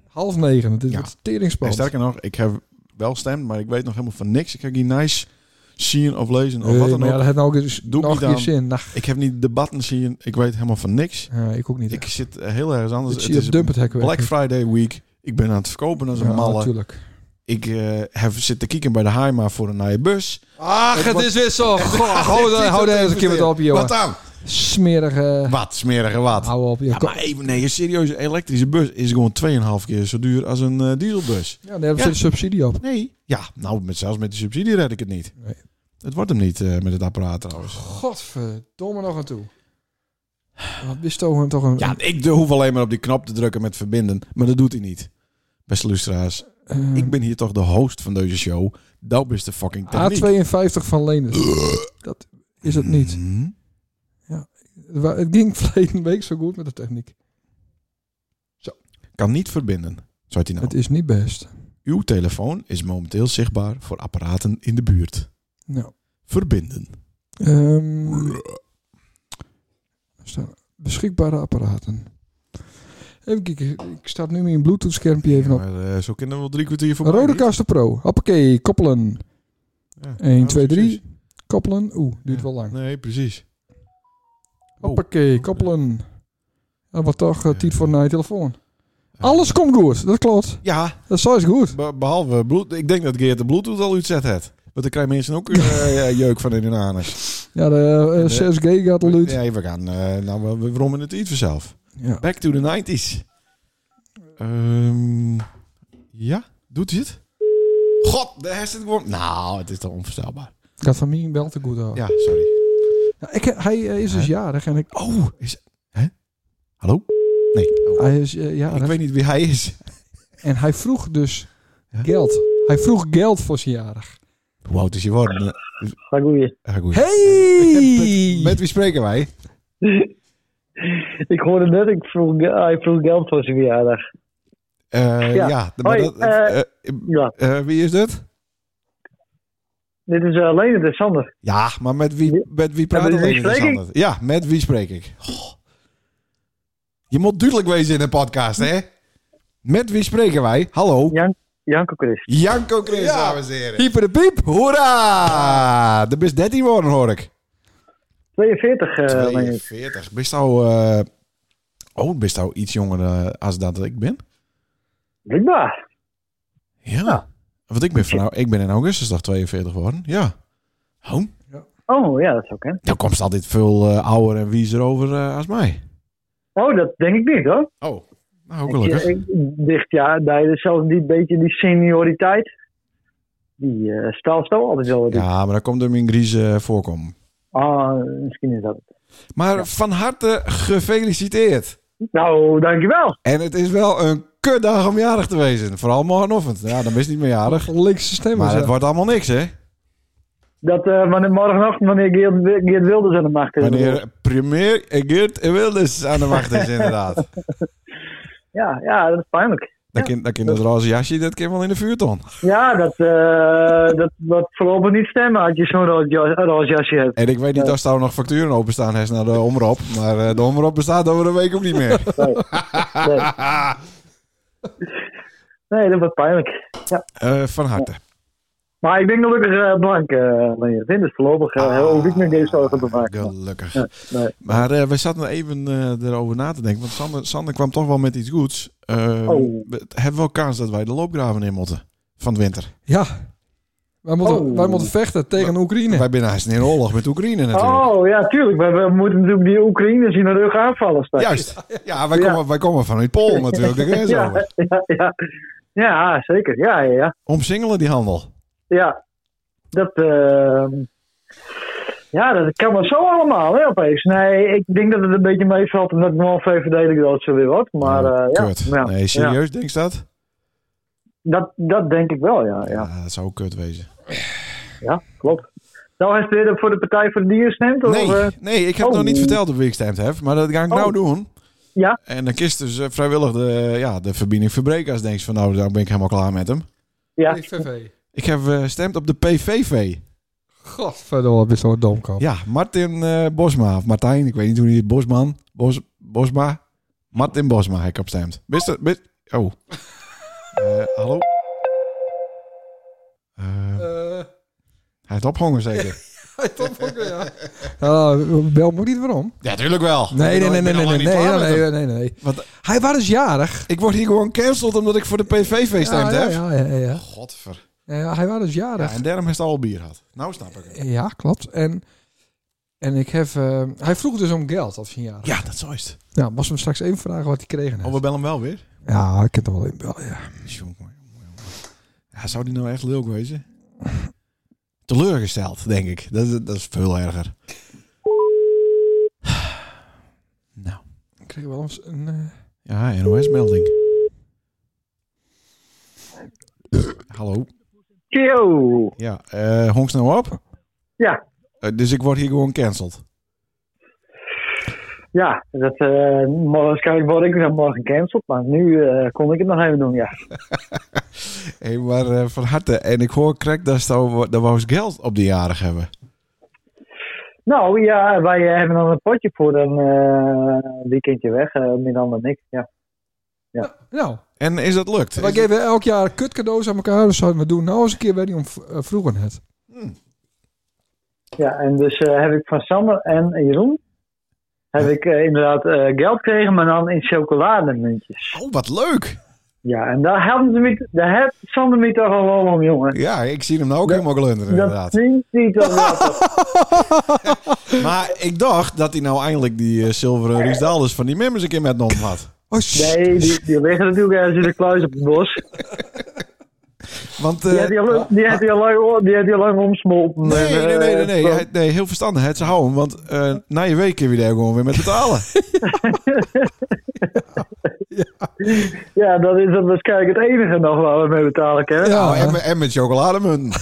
[SPEAKER 3] half negen. Het is
[SPEAKER 1] Ja.
[SPEAKER 3] het
[SPEAKER 1] En
[SPEAKER 3] teringspand.
[SPEAKER 1] sterker nog, ik heb wel stemd, maar ik weet nog helemaal van niks. Ik heb geen nice zien of lezen of
[SPEAKER 3] Nee,
[SPEAKER 1] wat dan
[SPEAKER 3] maar
[SPEAKER 1] ook.
[SPEAKER 3] ja, dat heeft nou ook eens
[SPEAKER 1] Doe
[SPEAKER 3] nog
[SPEAKER 1] niet
[SPEAKER 3] je
[SPEAKER 1] aan.
[SPEAKER 3] zin. Nou,
[SPEAKER 1] Ik heb niet debatten zien. Ik weet helemaal van niks.
[SPEAKER 3] ja, ik ook niet.
[SPEAKER 1] Ik zit eh, heel ergens anders.
[SPEAKER 3] het zie je op dump het hek weer.
[SPEAKER 1] Black Friday week. Ik ben aan het verkopen als een
[SPEAKER 3] Ja,
[SPEAKER 1] malle.
[SPEAKER 3] natuurlijk.
[SPEAKER 1] Ik eh, heb zit te kieken bij de Haima voor een nieuwe bus.
[SPEAKER 3] Ach,
[SPEAKER 1] het
[SPEAKER 3] is weer <laughs> zo.
[SPEAKER 1] dit is
[SPEAKER 3] Hou
[SPEAKER 1] wat
[SPEAKER 3] daar eens een
[SPEAKER 1] even
[SPEAKER 3] keer met
[SPEAKER 1] stil.
[SPEAKER 3] op, jongen.
[SPEAKER 1] Wat dan?
[SPEAKER 3] Smerige...
[SPEAKER 1] Wat, smerige wat.
[SPEAKER 3] Hou op,
[SPEAKER 1] Ja,
[SPEAKER 3] joh. Kom-
[SPEAKER 1] maar even, nee, een serieuze elektrische bus is gewoon 2,5 keer zo duur als een eh, dieselbus.
[SPEAKER 3] Ja, daar hebben ze
[SPEAKER 1] Ja.
[SPEAKER 3] de subsidie op.
[SPEAKER 1] Nee. Ja, nou, met, zelfs met de subsidie red ik het niet.
[SPEAKER 3] Nee.
[SPEAKER 1] Het wordt hem niet eh, met het apparaat trouwens.
[SPEAKER 3] Godverdomme nog aan toe. Wat is toch een... Toch een
[SPEAKER 1] Ja, ik de- hoef alleen maar op die knop te drukken met verbinden, maar dat doet hij niet. Beste lustra's,
[SPEAKER 3] eh,
[SPEAKER 1] ik ben hier toch de host van deze show. Dat is de fucking techniek.
[SPEAKER 3] A52 van Lenus. Dat Ah, is het niet.
[SPEAKER 1] Mhm.
[SPEAKER 3] Wa- Het ging <laughs> verleden week zo goed met de techniek.
[SPEAKER 1] Kan niet verbinden, zei hij nou.
[SPEAKER 3] Het is niet best.
[SPEAKER 1] Uw telefoon is momenteel zichtbaar voor apparaten in de buurt.
[SPEAKER 3] Nou.
[SPEAKER 1] Verbinden.
[SPEAKER 3] ehm, er staan beschikbare apparaten. Even kijken. Ik sta nu mijn Bluetooth schermpje even op.
[SPEAKER 1] Maar, eh, zo kunnen we wel drie kwartier voor
[SPEAKER 3] Rode Kasten Pro. Hoppakee. Koppelen. 1, 2, 3. Koppelen. Oeh, duurt
[SPEAKER 1] Nou, Ja.
[SPEAKER 3] wel lang.
[SPEAKER 1] Nee, precies.
[SPEAKER 3] Hoppakee. Koppelen. Dat was toch eh,
[SPEAKER 1] Ja.
[SPEAKER 3] tijd voor naar je telefoon. Alles komt goed. Dat klopt.
[SPEAKER 1] Ja,
[SPEAKER 3] Dat is goed.
[SPEAKER 1] be- behalve bloed. Ik denk dat Geert de Bluetooth al uitzet heeft. Want dan krijgen mensen
[SPEAKER 3] <laughs>
[SPEAKER 1] ook eh, eh, jeuk van in hun anus.
[SPEAKER 3] Ja, de eh, 6G gaat al uit.
[SPEAKER 1] Nee, we gaan. eh, nou, we, we rommen het iets vanzelf.
[SPEAKER 3] Ja.
[SPEAKER 1] Back to the 90s. Ehm, ja, doet hij het? God, daar is het gewoon. Nou, het is toch onvoorstelbaar.
[SPEAKER 3] Gaat van mij wel te goed hoor.
[SPEAKER 1] Ja, sorry.
[SPEAKER 3] Ja, ik, hij eh, is dus jarig en ik...
[SPEAKER 1] Oh, is. Hè? Hallo? Nee. oh.
[SPEAKER 3] Hij is eh, jarig.
[SPEAKER 1] ik weet niet wie hij is.
[SPEAKER 3] En hij vroeg dus
[SPEAKER 1] Ja?
[SPEAKER 3] geld. Hij vroeg geld voor zijn jarig.
[SPEAKER 1] Hoe oud is je worden?
[SPEAKER 4] Ga goeie.
[SPEAKER 1] Eh, goed.
[SPEAKER 3] Hey! <laughs>
[SPEAKER 1] Met, met wie spreken wij?
[SPEAKER 4] Ik hoorde net, ik vroeg, hij vroeg geld voor zijn verjaardag.
[SPEAKER 1] Eh, ja.
[SPEAKER 4] Ja.
[SPEAKER 1] maar
[SPEAKER 4] Hoi,
[SPEAKER 1] dat,
[SPEAKER 4] eh,
[SPEAKER 1] eh,
[SPEAKER 4] Ja,
[SPEAKER 1] eh, wie is dit?
[SPEAKER 4] dit is eh, alleen het is Sander.
[SPEAKER 1] Ja, maar met wie, met wie praat
[SPEAKER 4] met
[SPEAKER 1] ik?
[SPEAKER 4] wie spreek ik?
[SPEAKER 1] Ja, met wie spreek ik? Goh. Je moet duidelijk wezen in een podcast, hè? Met wie spreken wij? Hallo.
[SPEAKER 4] Jan, Janko Chris.
[SPEAKER 1] Janko Chris,
[SPEAKER 3] Ja.
[SPEAKER 1] dames en heren.
[SPEAKER 3] Hyper de piep!
[SPEAKER 1] Hoera! De best 13 worden, hoor ik.
[SPEAKER 4] 42, eh, meen ik.
[SPEAKER 1] 42. Bist nou... eh, oh, bist nou iets jonger eh, als dat ik ben?
[SPEAKER 4] Blijkbaar.
[SPEAKER 1] Ja. Want ik ben, van, nou- ik ben in augustus toch 42 geworden. Ja. Oh,
[SPEAKER 4] Oh, ja, dat is ook, hè.
[SPEAKER 1] dan komt ze altijd veel eh, ouder en wiezer over eh, als mij.
[SPEAKER 4] Oh, dat denk ik niet, hoor.
[SPEAKER 1] Oh. Nou,
[SPEAKER 4] Ik,
[SPEAKER 1] gelukkig.
[SPEAKER 4] ik, dicht, ja, daar is zelfs die beetje die senioriteit. Die eh staalt zo altijd wel. Ja.
[SPEAKER 1] Ja, maar dat komt door mijn Grieze voorkomen.
[SPEAKER 4] Ah, misschien is dat het.
[SPEAKER 1] Maar van harte gefeliciteerd.
[SPEAKER 4] Nou, dankjewel.
[SPEAKER 1] En het is wel een kutdag om jarig te wezen. Vooral morgenochtend. Ja, dan is niet meer jarig.
[SPEAKER 3] Linkse
[SPEAKER 1] <laughs>
[SPEAKER 3] stem
[SPEAKER 1] Maar
[SPEAKER 3] is
[SPEAKER 1] het
[SPEAKER 3] dat.
[SPEAKER 1] wordt allemaal niks, hè?
[SPEAKER 4] Dat eh, wanneer morgenochtend, wanneer Geert, Geert Wilders aan de macht is.
[SPEAKER 1] Wanneer premier Geert Wilders aan de macht is, inderdaad. <laughs>
[SPEAKER 4] Ja, ja, dat is pijnlijk.
[SPEAKER 1] Dan kan dan kan dat roze jasje, dat kan wel in de vuurton.
[SPEAKER 4] Ja, dat, eh dat wat voorlopig niet stemmen als je zo'n rood jas- roze jasje hebt.
[SPEAKER 1] En ik weet niet of er nog facturen openstaan heeft naar de omroep. Maar eh, de omroep bestaat over een week ook niet
[SPEAKER 4] <laughs>
[SPEAKER 1] meer.
[SPEAKER 4] Nee, nee dat wordt pijnlijk.
[SPEAKER 1] Eh, van harte.
[SPEAKER 4] Maar ik ben gelukkig eh, blank. eh wanneer het in is voorlopig eh,
[SPEAKER 1] Ah.
[SPEAKER 4] heel hoef ik me geen zorgen te maken.
[SPEAKER 1] Gelukkig.
[SPEAKER 4] nee.
[SPEAKER 1] Maar eh, we zaten even eh, erover na te denken. Want Sander, Sander kwam toch wel met iets goeds. Eh,
[SPEAKER 4] Oh.
[SPEAKER 1] we hebben wel kans dat wij de loopgraven in moeten. Van de winter.
[SPEAKER 3] Ja. Wij moeten,
[SPEAKER 4] Oh.
[SPEAKER 3] wij moeten vechten tegen Oekraïne.
[SPEAKER 1] Wij zijn haast in oorlog met Oekraïne natuurlijk.
[SPEAKER 4] Oh ja, tuurlijk. We, we moeten natuurlijk die Oekraïners in de rug aanvallen straks.
[SPEAKER 1] Juist. Ja, wij,
[SPEAKER 4] Ja.
[SPEAKER 1] Komen, wij komen vanuit
[SPEAKER 4] <laughs>
[SPEAKER 1] Polen natuurlijk. De grens
[SPEAKER 4] Ja,
[SPEAKER 1] over.
[SPEAKER 4] ja, <laughs> ja. ja, zeker. Ja, ja, ja.
[SPEAKER 1] Omsingelen die handel.
[SPEAKER 4] ja. Dat, eh, ja, dat kan maar zo allemaal, hè, opeens. Nee, ik denk dat het een beetje meevalt omdat ik nog VVD de grootste weer wordt. Maar eh, ja,
[SPEAKER 1] Oh, kut.
[SPEAKER 4] ja,
[SPEAKER 1] nee,
[SPEAKER 4] ja.
[SPEAKER 1] serieus, denk je dat?
[SPEAKER 4] Dat, dat denk ik wel, ja. Ja,
[SPEAKER 1] dat zou ook kut wezen.
[SPEAKER 4] ja klopt. Nou, heeft u voor de Partij voor de Dieren gestemd? Of,
[SPEAKER 1] Nee,
[SPEAKER 4] eh,
[SPEAKER 1] nee, ik heb
[SPEAKER 4] oh.
[SPEAKER 1] nog niet verteld op wie ik gestemd heb, maar dat ga ik nou
[SPEAKER 4] Oh.
[SPEAKER 1] doen.
[SPEAKER 4] Ja.
[SPEAKER 1] En dan kiest dus eh, vrijwillig de, ja, de verbinding verbreken als denk je van nou, dan ben ik helemaal klaar met hem.
[SPEAKER 4] ja.
[SPEAKER 3] PVV.
[SPEAKER 1] Ik heb eh, gestemd op de PVV.
[SPEAKER 3] Godverdomme, wat ben je zo'n domkap.
[SPEAKER 1] Ja, Martin eh, Bosma of Martijn, ik weet niet hoe die Bosman, Bos, Bosma, Martin Bosma heb ik op stemt. Wist dat? wist- oh. <laughs> Eh, hallo. Eh,
[SPEAKER 3] Eh,
[SPEAKER 1] hij heeft opgehangen zeker.
[SPEAKER 3] hij toch ook, ja. Ah, bel me ook niet waarom.
[SPEAKER 1] <laughs> ja, tuurlijk wel.
[SPEAKER 3] Nee, nee, nee,
[SPEAKER 1] Ik ben
[SPEAKER 3] nee,
[SPEAKER 1] al
[SPEAKER 3] nee,
[SPEAKER 1] lang
[SPEAKER 3] nee,
[SPEAKER 1] niet klaar
[SPEAKER 3] nee,
[SPEAKER 1] met hem.
[SPEAKER 3] nee, nee, nee.
[SPEAKER 1] Want
[SPEAKER 3] Hij was dus jarig.
[SPEAKER 1] ik word hier gewoon cancelled omdat ik voor de PVV gestemd
[SPEAKER 3] ja, ja,
[SPEAKER 1] heb.
[SPEAKER 3] ja, ja, ja.
[SPEAKER 1] Godver.
[SPEAKER 3] Ja, hij was dus jarig.
[SPEAKER 1] Ja, en daarom heeft hij al bier gehad. Nou snap ik het.
[SPEAKER 3] Ja, klopt. En, en ik heb, eh, hij vroeg dus om geld als hij jarig
[SPEAKER 1] Ja, dat zo is het.
[SPEAKER 3] Nou, was hem straks even vragen wat hij kregen
[SPEAKER 1] Oh,
[SPEAKER 3] heeft.
[SPEAKER 1] we bellen hem wel weer.
[SPEAKER 3] Ja, ik kan toch wel inbellen, ja.
[SPEAKER 1] Jongen, jongen, jongen. Ja, zou die nou echt leuk wezen? <laughs> Teleurgesteld, denk ik. Dat, is- dat is veel erger. Nou.
[SPEAKER 3] Ik kreeg wel eens een... eh,
[SPEAKER 1] Ja, NOS-melding. <coughs> Hallo.
[SPEAKER 4] Tjo.
[SPEAKER 1] Ja, eh honk nou op.
[SPEAKER 4] Ja,
[SPEAKER 1] Eh, dus ik word hier gewoon cancelled.
[SPEAKER 4] ja. Dat, eh, morgen waarschijnlijk word ik nog morgen gecanceld. Maar nu eh, kon ik het nog even doen, ja.
[SPEAKER 1] Hé, maar eh, van harte. En ik hoor krek dat ze nou- dat we eens geld op de jarig hebben.
[SPEAKER 4] Nou ja, wij eh, hebben dan een potje voor een eh, weekendje weg. eh, meer dan dan niks, ja.
[SPEAKER 3] Nou,
[SPEAKER 1] En is dat lukt?
[SPEAKER 3] wij
[SPEAKER 1] Is dat-
[SPEAKER 3] geven elk jaar kut cadeaus aan elkaar. Dus zouden we doen nou eens een keer bij die om eh, vroeger het.
[SPEAKER 4] Ja, en dus eh, heb ik van Sander en Jeroen... heb ik eh, inderdaad eh, geld gekregen, maar dan in chocolademuntjes.
[SPEAKER 1] Oh, wat leuk!
[SPEAKER 4] Ja, en daar helpt me- daar helpt Sander me toch al wel om, jongen.
[SPEAKER 1] Ja, ik zie hem nou ook helemaal glunderen,
[SPEAKER 4] Dat
[SPEAKER 1] inderdaad.
[SPEAKER 4] vindt hij toch wel.
[SPEAKER 1] <laughs> Maar ik dacht dat hij nou eindelijk die eh, zilveren Riesdalders van die members een keer met hem had.
[SPEAKER 3] Oh, sh-
[SPEAKER 4] Nee, die, die liggen natuurlijk ergens in de kluis op het bos.
[SPEAKER 1] Want, eh,
[SPEAKER 4] Die had hij al, die had hij al, lang- die had hij al lang omsmolten.
[SPEAKER 1] nee,
[SPEAKER 4] En,
[SPEAKER 1] nee, nee,
[SPEAKER 4] eh,
[SPEAKER 1] nee, nee, nee, Hij- nee, heel verstandig. Het ze houden, want eh, na je week kun je daar gewoon weer met betalen.
[SPEAKER 4] Ja, dat is dan waarschijnlijk het enige nog waar we mee betalen kunnen. Ja,
[SPEAKER 1] Nou, en, met- en met chocolademunten.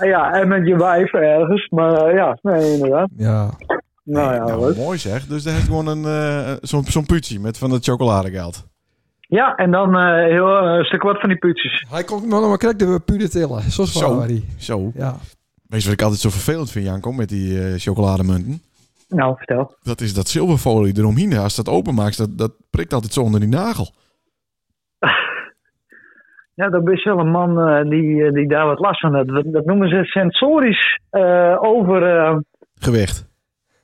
[SPEAKER 4] ja, en met je wijf ergens. Maar eh, ja, nee, inderdaad.
[SPEAKER 3] ja.
[SPEAKER 4] Nou ja,
[SPEAKER 1] Nou,
[SPEAKER 4] leuk.
[SPEAKER 1] mooi zeg. Dus daar heeft gewoon een, eh, zo'n zo'n putje met van dat chocoladegeld.
[SPEAKER 4] Ja, en dan eh, heel eh, een stuk wat van die putjes.
[SPEAKER 3] Hij kon nog maar krek de puur tillen. Zo
[SPEAKER 1] Zo.
[SPEAKER 3] zwaar was hij.
[SPEAKER 1] Zo.
[SPEAKER 3] Ja.
[SPEAKER 1] Weet je wat ik altijd zo vervelend vind, Janko, met die eh, chocolademunten?
[SPEAKER 4] Nou, vertel.
[SPEAKER 1] Dat is dat zilverfolie eromheen. Als je dat openmaakt, dat, dat prikt altijd zo onder die nagel.
[SPEAKER 4] Ja, dat is wel een man eh, die, eh, die daar wat last van heeft. Dat, dat noemen ze sensorisch eh, over... eh,
[SPEAKER 1] Gewicht.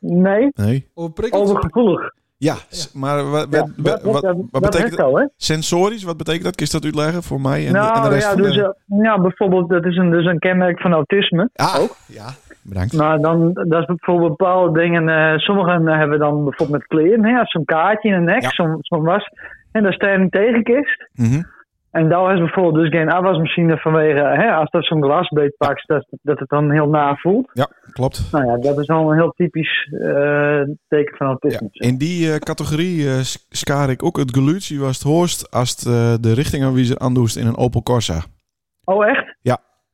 [SPEAKER 4] nee,
[SPEAKER 1] Nee.
[SPEAKER 3] Overprikkeld.
[SPEAKER 4] overgevoelig.
[SPEAKER 1] Ja, s- maar wa- wa-
[SPEAKER 4] Ja,
[SPEAKER 1] wa-
[SPEAKER 4] dat-
[SPEAKER 1] wat,
[SPEAKER 4] dat-
[SPEAKER 1] wat
[SPEAKER 4] dat
[SPEAKER 1] betekent
[SPEAKER 4] heeft al, hè?
[SPEAKER 1] Sensorisch, wat betekent dat? Kun je dat uitleggen voor mij en, de- en de
[SPEAKER 4] Nou,
[SPEAKER 1] rest
[SPEAKER 4] ja,
[SPEAKER 1] van
[SPEAKER 4] dus,
[SPEAKER 1] de...
[SPEAKER 4] eh, ja, bijvoorbeeld, dat is een, dus een kenmerk van autisme.
[SPEAKER 1] Ah, ja. Bedankt.
[SPEAKER 4] Nou, dan, dat is voor bepaalde dingen. eh, sommigen hebben dan bijvoorbeeld met kleren, hè, zo'n kaartje in de nek,
[SPEAKER 1] Ja.
[SPEAKER 4] zo'n zo'n was. En daar sta je niet tegen kist.
[SPEAKER 1] Mhm.
[SPEAKER 4] En daar is bijvoorbeeld dus geen afwasmachine vanwege, hè, als dat zo'n glasbeet pakt, dat, dat het dan heel na voelt.
[SPEAKER 1] Ja, klopt.
[SPEAKER 4] Nou ja, dat is al een heel typisch eh, teken van autisme.
[SPEAKER 1] Ja, in die eh, categorie eh, s- schaar ik ook het gelutie was het hoorst als het, eh, de richting aan wie ze aandoest in een Opel Corsa.
[SPEAKER 4] Oh, echt?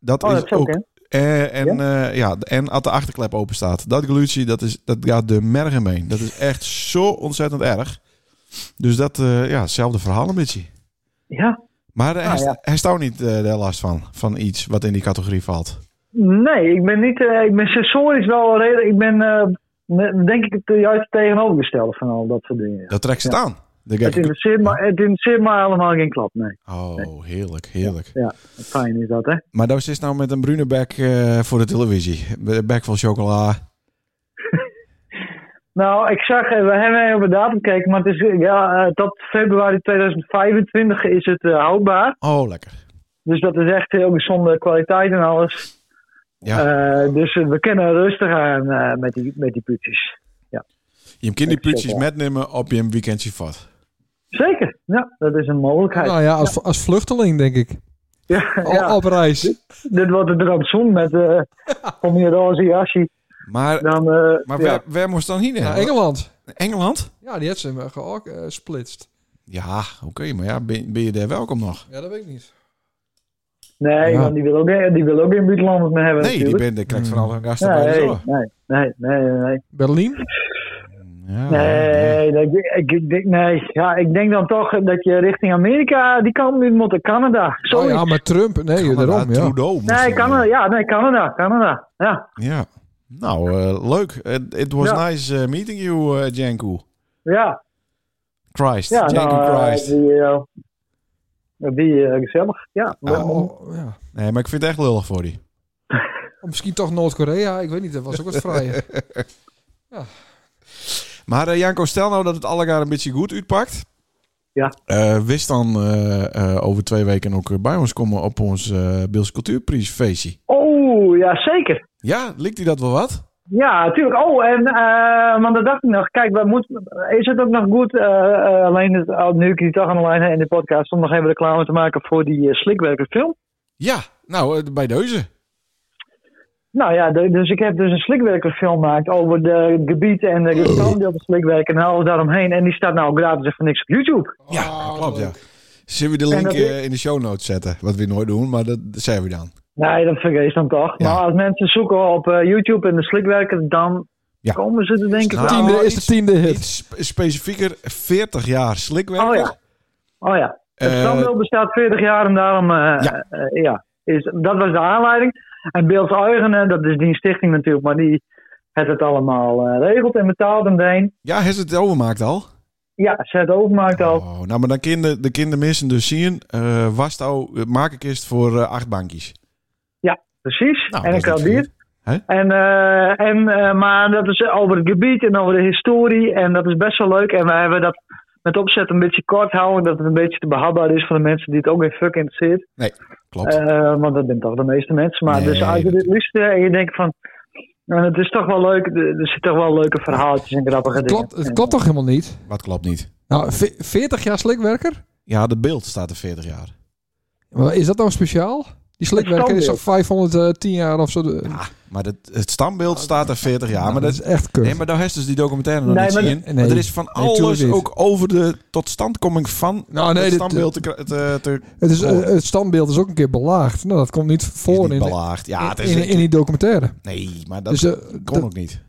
[SPEAKER 1] Dat
[SPEAKER 4] Oh,
[SPEAKER 1] is
[SPEAKER 4] dat is ook, hè?
[SPEAKER 1] Eh, en, ja? ja, en als de achterklep open staat. Dat gelutie, dat, is, dat gaat de mergen mee. Dat is echt zo ontzettend erg. Dus dat, eh, ja, hetzelfde verhaal een beetje.
[SPEAKER 4] Ja.
[SPEAKER 1] Maar eh, hij,
[SPEAKER 4] Ah, ja.
[SPEAKER 1] st- hij staat niet eh, daar last van, van iets wat in die categorie valt.
[SPEAKER 4] Nee, ik ben niet, eh, ik ben sensorisch wel redelijk, ik ben eh, ne- denk ik het juiste tegenovergestelde van al dat soort dingen.
[SPEAKER 1] Dat trekt ze het aan. De
[SPEAKER 4] Het
[SPEAKER 1] gekke-
[SPEAKER 4] interesseert, me, het interesseert me allemaal geen klap, nee.
[SPEAKER 1] Oh, heerlijk, heerlijk.
[SPEAKER 4] Fijn is dat, hè?
[SPEAKER 1] Maar daar zit nou met een brune bek eh, voor de televisie. Be- Bek vol chocola.
[SPEAKER 4] Nou, ik zag, eh, we hebben even op de datum gekeken, maar het is, eh, ja, eh, tot februari 2025 is het eh, houdbaar.
[SPEAKER 1] Oh, lekker.
[SPEAKER 4] Dus dat is echt heel gezonde kwaliteit en alles.
[SPEAKER 1] Ja.
[SPEAKER 4] Eh, dus eh, we kunnen rustig aan eh, met die, met die putjes.
[SPEAKER 1] Je kunt die
[SPEAKER 4] Echt
[SPEAKER 1] putjes
[SPEAKER 4] chocola.
[SPEAKER 1] metnemen op je weekendje vat.
[SPEAKER 4] Zeker, ja, dat is een mogelijkheid.
[SPEAKER 3] Nou ja, als, als vluchteling denk ik.
[SPEAKER 4] ja,
[SPEAKER 3] Al-
[SPEAKER 4] ja.
[SPEAKER 3] Op reis.
[SPEAKER 4] Dit wordt de droomzoen
[SPEAKER 1] <laughs>
[SPEAKER 4] met eh om je roze jasje.
[SPEAKER 1] Maar,
[SPEAKER 4] Dan, eh,
[SPEAKER 1] maar
[SPEAKER 4] ja. Nou,
[SPEAKER 1] waar, waar moest dan heen?
[SPEAKER 3] Naar Engeland.
[SPEAKER 1] Engeland?
[SPEAKER 3] Ja, die heeft ze eh, me gesplitst.
[SPEAKER 1] Ja, oké, maar ja, ben, ben je daar welkom nog?
[SPEAKER 3] Ja, dat weet ik niet.
[SPEAKER 4] Nee,
[SPEAKER 3] Ja.
[SPEAKER 4] want die wil ook, geen- die wil ook geen buitenlanders meer hebben
[SPEAKER 1] Nee, die
[SPEAKER 4] natuurlijk.
[SPEAKER 1] ben, die krijgt van
[SPEAKER 3] Hmm.
[SPEAKER 1] alle een gasten bij de
[SPEAKER 4] Nee,
[SPEAKER 1] zorg.
[SPEAKER 4] nee, nee, nee, nee, nee.
[SPEAKER 3] Berlijn?
[SPEAKER 1] Ja, Ah, nee.
[SPEAKER 4] Nee, dat- ik, ik denk, nee. Ja, ik denk dan toch dat je richting Amerika, die kant nu moet, Canada. Sorry.
[SPEAKER 3] Oh ja, maar Trump. Nee,
[SPEAKER 1] Canada,
[SPEAKER 3] daarom. Ja.
[SPEAKER 1] Trudeau. moest
[SPEAKER 4] nee,
[SPEAKER 1] dan,
[SPEAKER 4] Canada,
[SPEAKER 1] eh,
[SPEAKER 4] ja, nee, Canada, Canada. Ja,
[SPEAKER 1] Ja. Nou, eh, leuk. It, it was
[SPEAKER 4] Ja.
[SPEAKER 1] nice eh, meeting you, eh Janku.
[SPEAKER 4] ja,
[SPEAKER 1] Christ.
[SPEAKER 4] ja.
[SPEAKER 1] Janku
[SPEAKER 4] nou, eh,
[SPEAKER 1] Christ.
[SPEAKER 4] Die, eh, die eh, gezellig, ja.
[SPEAKER 1] Ja.
[SPEAKER 3] Oh, ja.
[SPEAKER 1] Nee, maar ik vind het echt lullig voor die.
[SPEAKER 3] Of misschien toch Noord-Korea. Ik weet niet, dat was ook wat vrijer.
[SPEAKER 1] Maar eh, Janko, stel nou dat het alle jaar een beetje goed uitpakt.
[SPEAKER 4] Ja.
[SPEAKER 1] Eh, wist dan eh, eh, over twee weken ook bij ons komen op ons eh Beels Cultuurprijs feestje.
[SPEAKER 4] Oh, ja, zeker.
[SPEAKER 1] Ja, likt hij dat wel wat?
[SPEAKER 4] Ja, natuurlijk. Oh, en, eh, want dat dacht ik nog. Kijk, we moeten, is het ook nog goed, eh, eh, alleen het, oh, nu ik die toch aan de lijn heb in de podcast, om nog even reclame te maken voor die eh, slikwerkerfilm.
[SPEAKER 1] Ja, nou, eh, bij deuze.
[SPEAKER 4] Nou ja, de- dus ik heb dus een slikwerkerfilm gemaakt over de gebieden
[SPEAKER 1] <clears throat>
[SPEAKER 4] en de bestanden op de slikwerker en alles daaromheen. En die staat nou gratis en voor niks op YouTube.
[SPEAKER 1] Ja, klopt, ja. Zullen we de
[SPEAKER 4] Oh, En
[SPEAKER 1] link
[SPEAKER 4] dat
[SPEAKER 1] eh, in de show notes zetten? Wat we nooit doen, maar dat zijn we dan.
[SPEAKER 4] Nee, dat vergeet dan toch.
[SPEAKER 1] Ja.
[SPEAKER 4] Maar als mensen zoeken op eh, YouTube en de slikwerker, dan
[SPEAKER 1] Ja.
[SPEAKER 4] komen ze er denk ik
[SPEAKER 1] Nou,
[SPEAKER 4] wel.
[SPEAKER 3] Tiende is de
[SPEAKER 1] iets-
[SPEAKER 3] tiende hit.
[SPEAKER 1] Iets spe- specifieker, 40 jaar slikwerker.
[SPEAKER 4] Oh ja. Oh ja, het
[SPEAKER 1] Eh,
[SPEAKER 4] standbeeld bestaat 40 jaar en daarom, eh,
[SPEAKER 1] Ja.
[SPEAKER 4] eh, ja, is, dat was de aanleiding. En Beeld Eigenen, dat is die stichting natuurlijk, maar die heeft het allemaal eh, regeld en betaald en deen.
[SPEAKER 1] ja, heeft het overmaakt al?
[SPEAKER 4] Ja, ze het overmaakt al.
[SPEAKER 1] Oh, nou, maar dan kinderen, de kinderen missen dus zien. eh was nou, eh, maak ik eerst voor eh, acht bankjes.
[SPEAKER 4] Precies,
[SPEAKER 1] Nou, dat
[SPEAKER 4] en een
[SPEAKER 1] is niet
[SPEAKER 4] kraldier.
[SPEAKER 1] verkeerd. Hè?
[SPEAKER 4] En, eh, en, eh, maar dat is over het gebied en over de historie. En dat is best wel leuk. En we hebben dat met opzet een beetje kort houden. Dat het een beetje te behapbaar is voor de mensen die het ook geen fuck interesseert.
[SPEAKER 1] Klopt.
[SPEAKER 4] Eh, want dat zijn toch de meeste mensen. Maar
[SPEAKER 1] Nee,
[SPEAKER 4] dus als je dit luistert en je denkt van... nou, het is toch wel leuk. Er er zitten toch wel leuke verhaaltjes en grappige
[SPEAKER 3] Het
[SPEAKER 4] dingen.
[SPEAKER 3] klopt, het klopt toch helemaal niet?
[SPEAKER 1] Wat klopt niet?
[SPEAKER 3] Nou, ve- 40 jaar slikwerker?
[SPEAKER 1] Ja, de beeld staat er 40 jaar.
[SPEAKER 3] Maar Is dat nou speciaal? Die slikwerker is al 510 jaar of zo. De-
[SPEAKER 1] Maar dat, het
[SPEAKER 3] Oh,
[SPEAKER 1] standbeeld staat er 40 jaar. Maar dat is,
[SPEAKER 3] echt kut.
[SPEAKER 1] nee, maar daar heeft dus die documentaire nog
[SPEAKER 4] Nee,
[SPEAKER 1] niet
[SPEAKER 4] maar
[SPEAKER 1] zien.
[SPEAKER 3] dat-
[SPEAKER 1] Maar
[SPEAKER 3] nee.
[SPEAKER 1] er is van
[SPEAKER 3] Nee, tuurlijk
[SPEAKER 1] alles
[SPEAKER 3] niet.
[SPEAKER 1] ook over de totstandkoming van
[SPEAKER 3] Nou, nee,
[SPEAKER 1] het
[SPEAKER 3] dit-
[SPEAKER 1] standbeeld te, kra- te, te
[SPEAKER 3] het, is,
[SPEAKER 1] oh.
[SPEAKER 3] eh, het standbeeld is ook een keer belaagd. Nou, dat komt niet
[SPEAKER 1] is
[SPEAKER 3] voor
[SPEAKER 1] niet
[SPEAKER 3] in, de-
[SPEAKER 1] belaagd. Ja, het is
[SPEAKER 3] in, in die documentaire.
[SPEAKER 1] Nee, maar dat
[SPEAKER 3] dus eh,
[SPEAKER 1] kon
[SPEAKER 3] dat-
[SPEAKER 1] ook niet.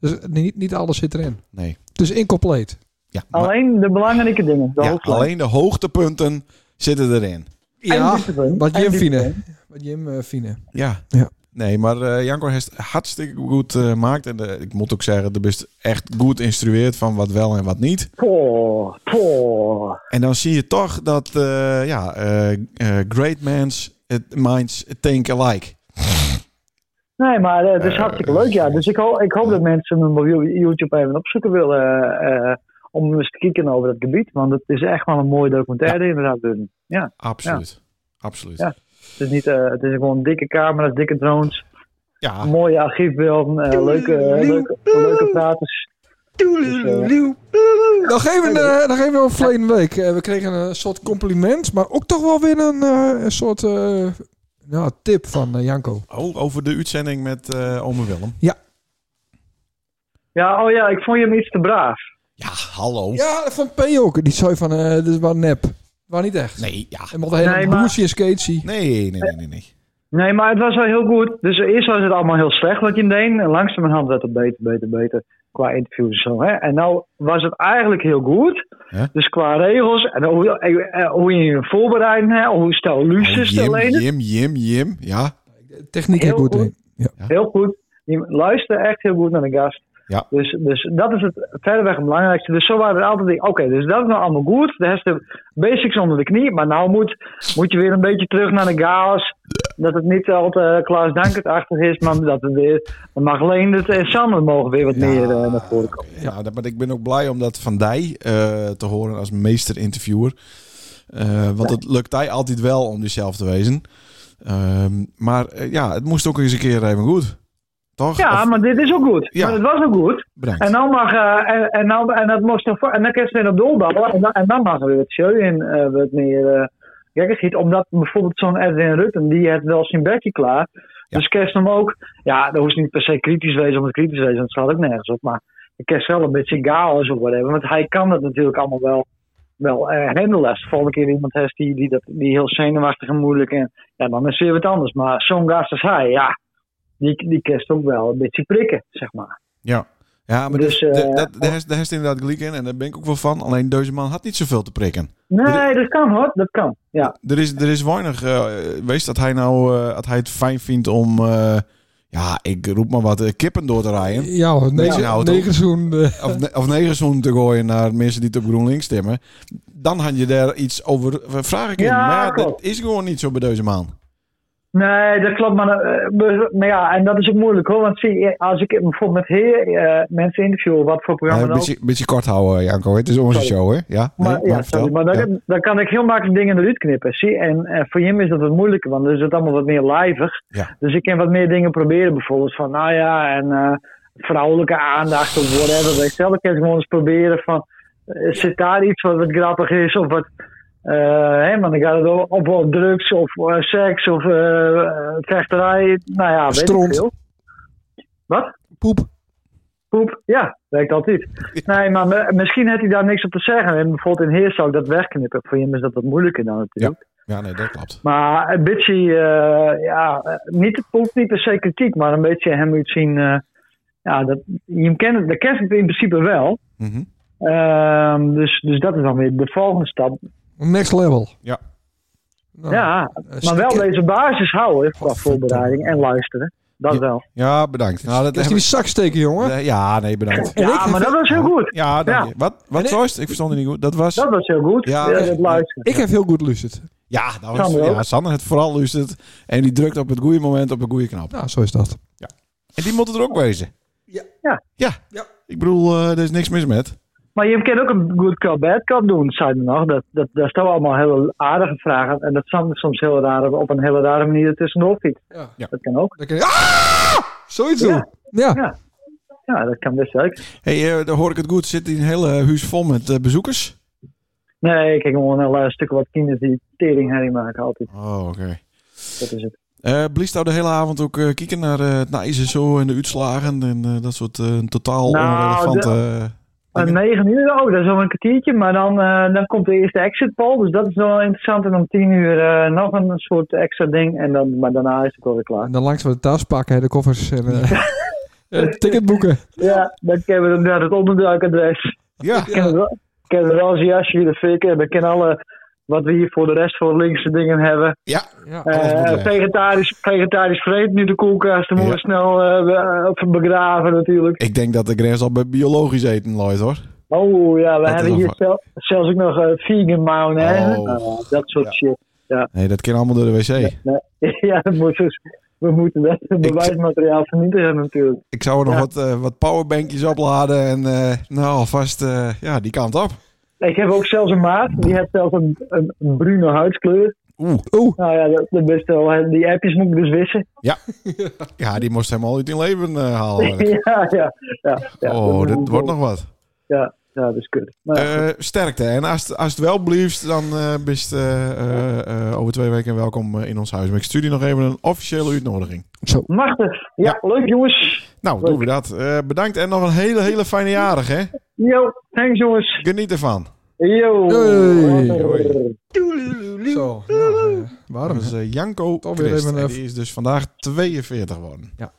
[SPEAKER 3] dus niet, niet alles zit erin.
[SPEAKER 1] Nee.
[SPEAKER 3] Het is incompleet.
[SPEAKER 1] Ja,
[SPEAKER 3] Oh,
[SPEAKER 1] maar-
[SPEAKER 4] Alleen de belangrijke dingen. De
[SPEAKER 1] ja,
[SPEAKER 4] hoofdlijnen.
[SPEAKER 1] alleen de hoogtepunten zitten erin.
[SPEAKER 4] En dieptepunt.
[SPEAKER 3] Wat
[SPEAKER 4] En
[SPEAKER 3] Jim
[SPEAKER 4] dieptepunt.
[SPEAKER 3] Fine. Wat Jim eh, Fine.
[SPEAKER 1] Ja.
[SPEAKER 3] Ja.
[SPEAKER 1] Nee, maar eh Janko heeft het hartstikke goed eh, gemaakt. En eh, ik moet ook zeggen, de best echt goed instrueert van wat wel en wat niet.
[SPEAKER 4] Poh, poh.
[SPEAKER 1] En dan zie je toch dat eh, ja, eh, eh, great mans het minds think alike.
[SPEAKER 4] Nee, maar eh, het is
[SPEAKER 1] Eh,
[SPEAKER 4] hartstikke leuk, ja. Dus ik, ho ik hoop dat mensen mijn mobiel YouTube even opzoeken willen. eh, eh, om eens te kijken over dat gebied. Want het is echt wel een mooie documentaire, inderdaad. Dunn.
[SPEAKER 1] Absoluut. Absoluut.
[SPEAKER 4] Ja. Het is, niet, eh, het is gewoon dikke camera's, dikke drones.
[SPEAKER 1] Ja,
[SPEAKER 4] Mooie archiefbeelden. eh, leuke, leuke, leuke praters. Dus, eh,
[SPEAKER 3] Nog even, eh, nog even over verleden week. Eh, we kregen een soort compliment, maar ook toch wel weer een, eh, een soort eh, nou, tip van eh, Janko.
[SPEAKER 1] Oh, over de uitzending met eh ome Willem.
[SPEAKER 4] ja, oh ja, ik vond je hem iets te braaf.
[SPEAKER 1] Ja, hallo.
[SPEAKER 3] Ja, van P ook. Die zei van, eh dit was nep. Waar niet echt.
[SPEAKER 1] Nee, ja.
[SPEAKER 3] En wat een hele nee,
[SPEAKER 4] Nee, maar-
[SPEAKER 3] en skatesy.
[SPEAKER 1] Nee, nee, nee, nee. nee.
[SPEAKER 4] Nee, maar het was wel heel goed. Dus eerst was het allemaal heel slecht wat je hem deed. En langzamerhand werd het beter, beter, beter. Qua interviews en zo. Hè? En nou was het eigenlijk heel goed.
[SPEAKER 1] Ja.
[SPEAKER 4] Dus qua regels en hoe, eh, eh, hoe je je voorbereidt. Hè? Hoe stel
[SPEAKER 1] Oh,
[SPEAKER 4] luces te
[SPEAKER 1] Jim,
[SPEAKER 4] lenen.
[SPEAKER 1] Jim, Jim, Jim. Ja,
[SPEAKER 3] Techniek heel
[SPEAKER 4] Heel
[SPEAKER 3] goed.
[SPEAKER 4] goed.
[SPEAKER 3] hè. Ja.
[SPEAKER 4] Heel goed. Je luistert echt heel goed naar de gast.
[SPEAKER 1] Ja.
[SPEAKER 4] Dus, dus dat is het verreweg het belangrijkste. Dus zo waren er altijd dingen. Oké, dus dat is nou allemaal goed. De rest de basics onder de knie. Maar nou moet, moet je weer een beetje terug naar de chaos. Dat het niet altijd eh, Klaas Dankert-achtig is. Maar dat het weer... Dan mag alleen het en Sander mogen weer wat meer eh, naar voren komen.
[SPEAKER 1] Ja, nou, dat- maar ik ben ook blij om dat van Dij eh, te horen als meester-interviewer. Eh, want het lukt hij altijd wel om jezelf te wezen. Ehm, maar eh, ja, het moest ook eens een keer even goed. Toch?
[SPEAKER 4] Ja,
[SPEAKER 1] Of-
[SPEAKER 4] maar dit is ook goed.
[SPEAKER 1] Ja.
[SPEAKER 4] Maar het was ook goed.
[SPEAKER 1] Bedankt.
[SPEAKER 4] En dan mag... eh, en, en, nou, en, dat moest dan, voor- en dan kun je het weer op doorbouwen. En dan, en dan mag er weer wat show in. eh, wat meer eh gekkigheid. Omdat bijvoorbeeld zo'n Edwin Rutten... Die heeft wel zijn bekje klaar.
[SPEAKER 1] Ja.
[SPEAKER 4] Dus kerst hem ook... Ja, dat hoeft niet per se kritisch wezen om het kritisch wezen. want Dat slaat ook nergens op. Maar ik kerst wel een beetje chaos of whatever. Want hij kan dat natuurlijk allemaal wel... Wel, eh handelen als de volgende keer iemand heeft die, die, dat, die heel zenuwachtig en moeilijk en ja, dan is het weer wat anders. Maar zo'n gast als hij, ja, die, die kerst ook wel een beetje prikken, zeg maar.
[SPEAKER 1] Ja. Ja, maar
[SPEAKER 4] Dus,
[SPEAKER 1] dus,
[SPEAKER 4] eh,
[SPEAKER 1] dat, daar heeft- daar heeft inderdaad gelijk in. En daar ben ik ook wel van. Alleen deze man had niet zoveel te prikken.
[SPEAKER 4] Nee, dat kan hoor, dat kan. Ja,
[SPEAKER 1] Er is, er is weinig. eh wees dat hij nou eh, dat hij het fijn vindt om. eh, ja, ik roep maar wat eh, kippen door te rijden.
[SPEAKER 3] Ja, hoor, negen,
[SPEAKER 1] Ja, nou, houdt op.
[SPEAKER 3] negen zoen, eh,
[SPEAKER 1] Of, ne of negen zoen te gooien naar mensen die het op GroenLinks stemmen. Dan had je daar iets over. eh, Vraag ik in.
[SPEAKER 4] Ja,
[SPEAKER 1] maar dat
[SPEAKER 4] klopt.
[SPEAKER 1] is gewoon niet zo bij deze man.
[SPEAKER 4] nee, dat klopt. Maar, eh, we- maar ja, en dat is ook moeilijk hoor. Want zie, als ik bijvoorbeeld met heer eh, mensen interview, wat voor
[SPEAKER 1] Eh,
[SPEAKER 4] programma
[SPEAKER 1] Een
[SPEAKER 4] dan ook.
[SPEAKER 1] beetje, beetje kort houden, eh, Janko. Het is onze
[SPEAKER 4] Sorry.
[SPEAKER 1] show, hè? Ja,
[SPEAKER 4] Maar,
[SPEAKER 1] Nee,
[SPEAKER 4] ja,
[SPEAKER 1] vertel.
[SPEAKER 4] sorry, maar dan,
[SPEAKER 1] Ja.
[SPEAKER 4] dan kan ik heel makkelijk dingen eruit knippen. Zie? En eh, voor Jim is dat wat moeilijker, want dan is het allemaal wat meer lijvig.
[SPEAKER 1] Ja.
[SPEAKER 4] Dus ik kan wat meer dingen proberen, bijvoorbeeld van, nou ja, en eh, vrouwelijke aandacht of whatever. Bij zelf kan ik gewoon eens proberen van, eh, zit daar iets wat, wat grappig is of wat. eh hè, maar dan gaat het o- op wel drugs of eh, seks of eh, eh, vechterij. Nou ja, weet
[SPEAKER 3] Stront.
[SPEAKER 4] ik veel. Wat?
[SPEAKER 3] poep.
[SPEAKER 4] Poep, ja, werkt altijd. Nee, maar me- misschien had hij daar niks op te zeggen. En bijvoorbeeld in Heer zou ik dat wegknippen. Voor hem is dat wat moeilijker dan natuurlijk.
[SPEAKER 1] ja, nee, dat klopt.
[SPEAKER 4] Maar een beetje, eh, ja, eh, niet, het hoeft niet per se kritiek, maar een beetje hem moet zien. eh, ja, dat, je kent het, dat kent het in principe wel.
[SPEAKER 1] Mhm.
[SPEAKER 4] Ehm, dus, dus dat is dan weer de volgende stap.
[SPEAKER 3] Next level.
[SPEAKER 1] Ja.
[SPEAKER 3] Nou,
[SPEAKER 4] ja,
[SPEAKER 3] eh,
[SPEAKER 4] maar
[SPEAKER 3] stiekem-
[SPEAKER 4] wel deze basis houden qua
[SPEAKER 3] Godverdomme.
[SPEAKER 4] voorbereiding en luisteren. Dat
[SPEAKER 1] Ja.
[SPEAKER 4] wel.
[SPEAKER 1] ja, bedankt. Nou, dat
[SPEAKER 3] Kun je die zak steken, jongen?
[SPEAKER 1] hebben- ja, nee, bedankt.
[SPEAKER 3] En ik
[SPEAKER 4] Ja,
[SPEAKER 3] heb-
[SPEAKER 4] maar dat was heel goed.
[SPEAKER 1] Ja, dank
[SPEAKER 4] Ja.
[SPEAKER 1] je. Wat, wat
[SPEAKER 3] En-
[SPEAKER 1] zoist? Ik verstond het niet goed. Dat was...
[SPEAKER 4] Dat was heel goed.
[SPEAKER 1] Ja,
[SPEAKER 4] Ja,
[SPEAKER 1] echt.
[SPEAKER 4] dat luisteren.
[SPEAKER 3] Ik heb heel goed lucid.
[SPEAKER 1] Ja, dat was,
[SPEAKER 4] Sander ook.
[SPEAKER 1] ja, Sander het vooral luistert. En die drukt op het goede moment op een goede knop.
[SPEAKER 3] Nou, zo is dat.
[SPEAKER 1] En die moet er ook wezen.
[SPEAKER 3] Ja.
[SPEAKER 4] Ja.
[SPEAKER 1] Ja.
[SPEAKER 3] Ja.
[SPEAKER 1] Ik bedoel, eh, er is niks mis met.
[SPEAKER 4] Maar je kan ook een good cop, bad cop doen, zei hij nog. Dat, dat, daar staan allemaal hele aardige vragen. En dat Sam soms heel raar, op een hele rare manier er tussendoor fietst.
[SPEAKER 3] Ja.
[SPEAKER 4] Dat kan ook.
[SPEAKER 3] Dan kun je... Ah! Zoiets
[SPEAKER 4] Ja.
[SPEAKER 3] doen. Ja.
[SPEAKER 4] Ja. Ja, dat kan best wel.
[SPEAKER 1] hey, eh, daar hoor ik het goed. Zit hier een hele huis vol met eh, bezoekers?
[SPEAKER 4] Nee, ik kijk gewoon naar eh, stukken wat kinderen die tering herrie maken altijd.
[SPEAKER 1] Oh, oké.
[SPEAKER 4] Dat is het.
[SPEAKER 1] Eh blieft nou de hele avond ook eh, kijken naar eh het Nijs en zo en de uitslagen en eh, dat soort eh, totaal
[SPEAKER 4] Nou,
[SPEAKER 1] onrelevante... eh,
[SPEAKER 4] Om
[SPEAKER 1] dingen?
[SPEAKER 4] 9 uur, oh, dat is al een kwartiertje. Maar dan, eh, dan komt de eerste exit poll. Dus dat is wel interessant. En om 10 uur eh, nog een soort extra ding. En dan, maar daarna is het wel weer klaar.
[SPEAKER 3] En dan langs we de tas pakken, hè, de koffers en <laughs> eh, het ticket boeken.
[SPEAKER 4] Ja, dan kennen we dan naar het onderduikadres.
[SPEAKER 1] eh, ja.
[SPEAKER 4] Kennen we wel- Kennen we wel eens een jasje in de fik hebben. Kennen alle wat we hier voor de rest voor linkse dingen hebben.
[SPEAKER 1] ja,
[SPEAKER 3] Ja.
[SPEAKER 1] Alles
[SPEAKER 4] Eh,
[SPEAKER 1] moet weg.
[SPEAKER 4] vegetarisch, vegetarisch vreet nu de koelkast. Dan moeten we snel eh, be- eh, begraven natuurlijk.
[SPEAKER 1] ik denk dat de grens al bij biologisch eten looit hoor.
[SPEAKER 4] Oh ja, we
[SPEAKER 1] is
[SPEAKER 4] hebben
[SPEAKER 1] nog
[SPEAKER 4] hier
[SPEAKER 1] wat.
[SPEAKER 4] zel- zelfs ook nog eh, vegan maun. hè?
[SPEAKER 1] Oh.
[SPEAKER 4] Nou, dat soort
[SPEAKER 1] Ja.
[SPEAKER 4] shit. <laughs>
[SPEAKER 1] Nee, dat kan allemaal door de wc.
[SPEAKER 4] ja, dat moet dus- we moeten dat bewijsmateriaal vernietigen natuurlijk.
[SPEAKER 1] Ik zou er nog
[SPEAKER 4] Ja.
[SPEAKER 1] wat, eh, wat powerbankjes opladen en eh, nou alvast eh, ja, die kant op.
[SPEAKER 4] Ik heb ook zelfs een maat, die heeft zelfs een, een, een bruine huidskleur.
[SPEAKER 1] Oeh,
[SPEAKER 3] Oeh,
[SPEAKER 4] Nou ja, dat, dat best wel. Die appjes moet ik dus wissen.
[SPEAKER 1] ja, die moest helemaal uit in leven eh, halen.
[SPEAKER 4] ja, ja, ja, <laughs> ja.
[SPEAKER 1] oh,
[SPEAKER 4] moet
[SPEAKER 1] dat
[SPEAKER 4] ik
[SPEAKER 1] wordt
[SPEAKER 4] ook.
[SPEAKER 1] nog wat.
[SPEAKER 4] Ja, dat is kut. Maar,
[SPEAKER 1] Eh, sterkte. En als, het- als het wel blieft, dan eh bist eh, eh, eh, over twee weken welkom eh, in ons huis. Maar ik stuur je nog even een officiële uitnodiging.
[SPEAKER 4] machtig. Ja, leuk jongens.
[SPEAKER 1] Nou, doen we dat. Eh, bedankt en nog een hele, hele fijne jarig, hè?
[SPEAKER 4] Yo, thanks jongens.
[SPEAKER 1] Geniet ervan.
[SPEAKER 4] Yo.
[SPEAKER 3] Hey.
[SPEAKER 1] Hoi.
[SPEAKER 3] zo. Nou, eh,
[SPEAKER 1] Dat
[SPEAKER 3] warm.
[SPEAKER 1] is eh, Janko
[SPEAKER 3] Toch weer
[SPEAKER 1] Christ.
[SPEAKER 3] even, eh,
[SPEAKER 1] En die is dus vandaag 42 geworden.
[SPEAKER 3] Ja.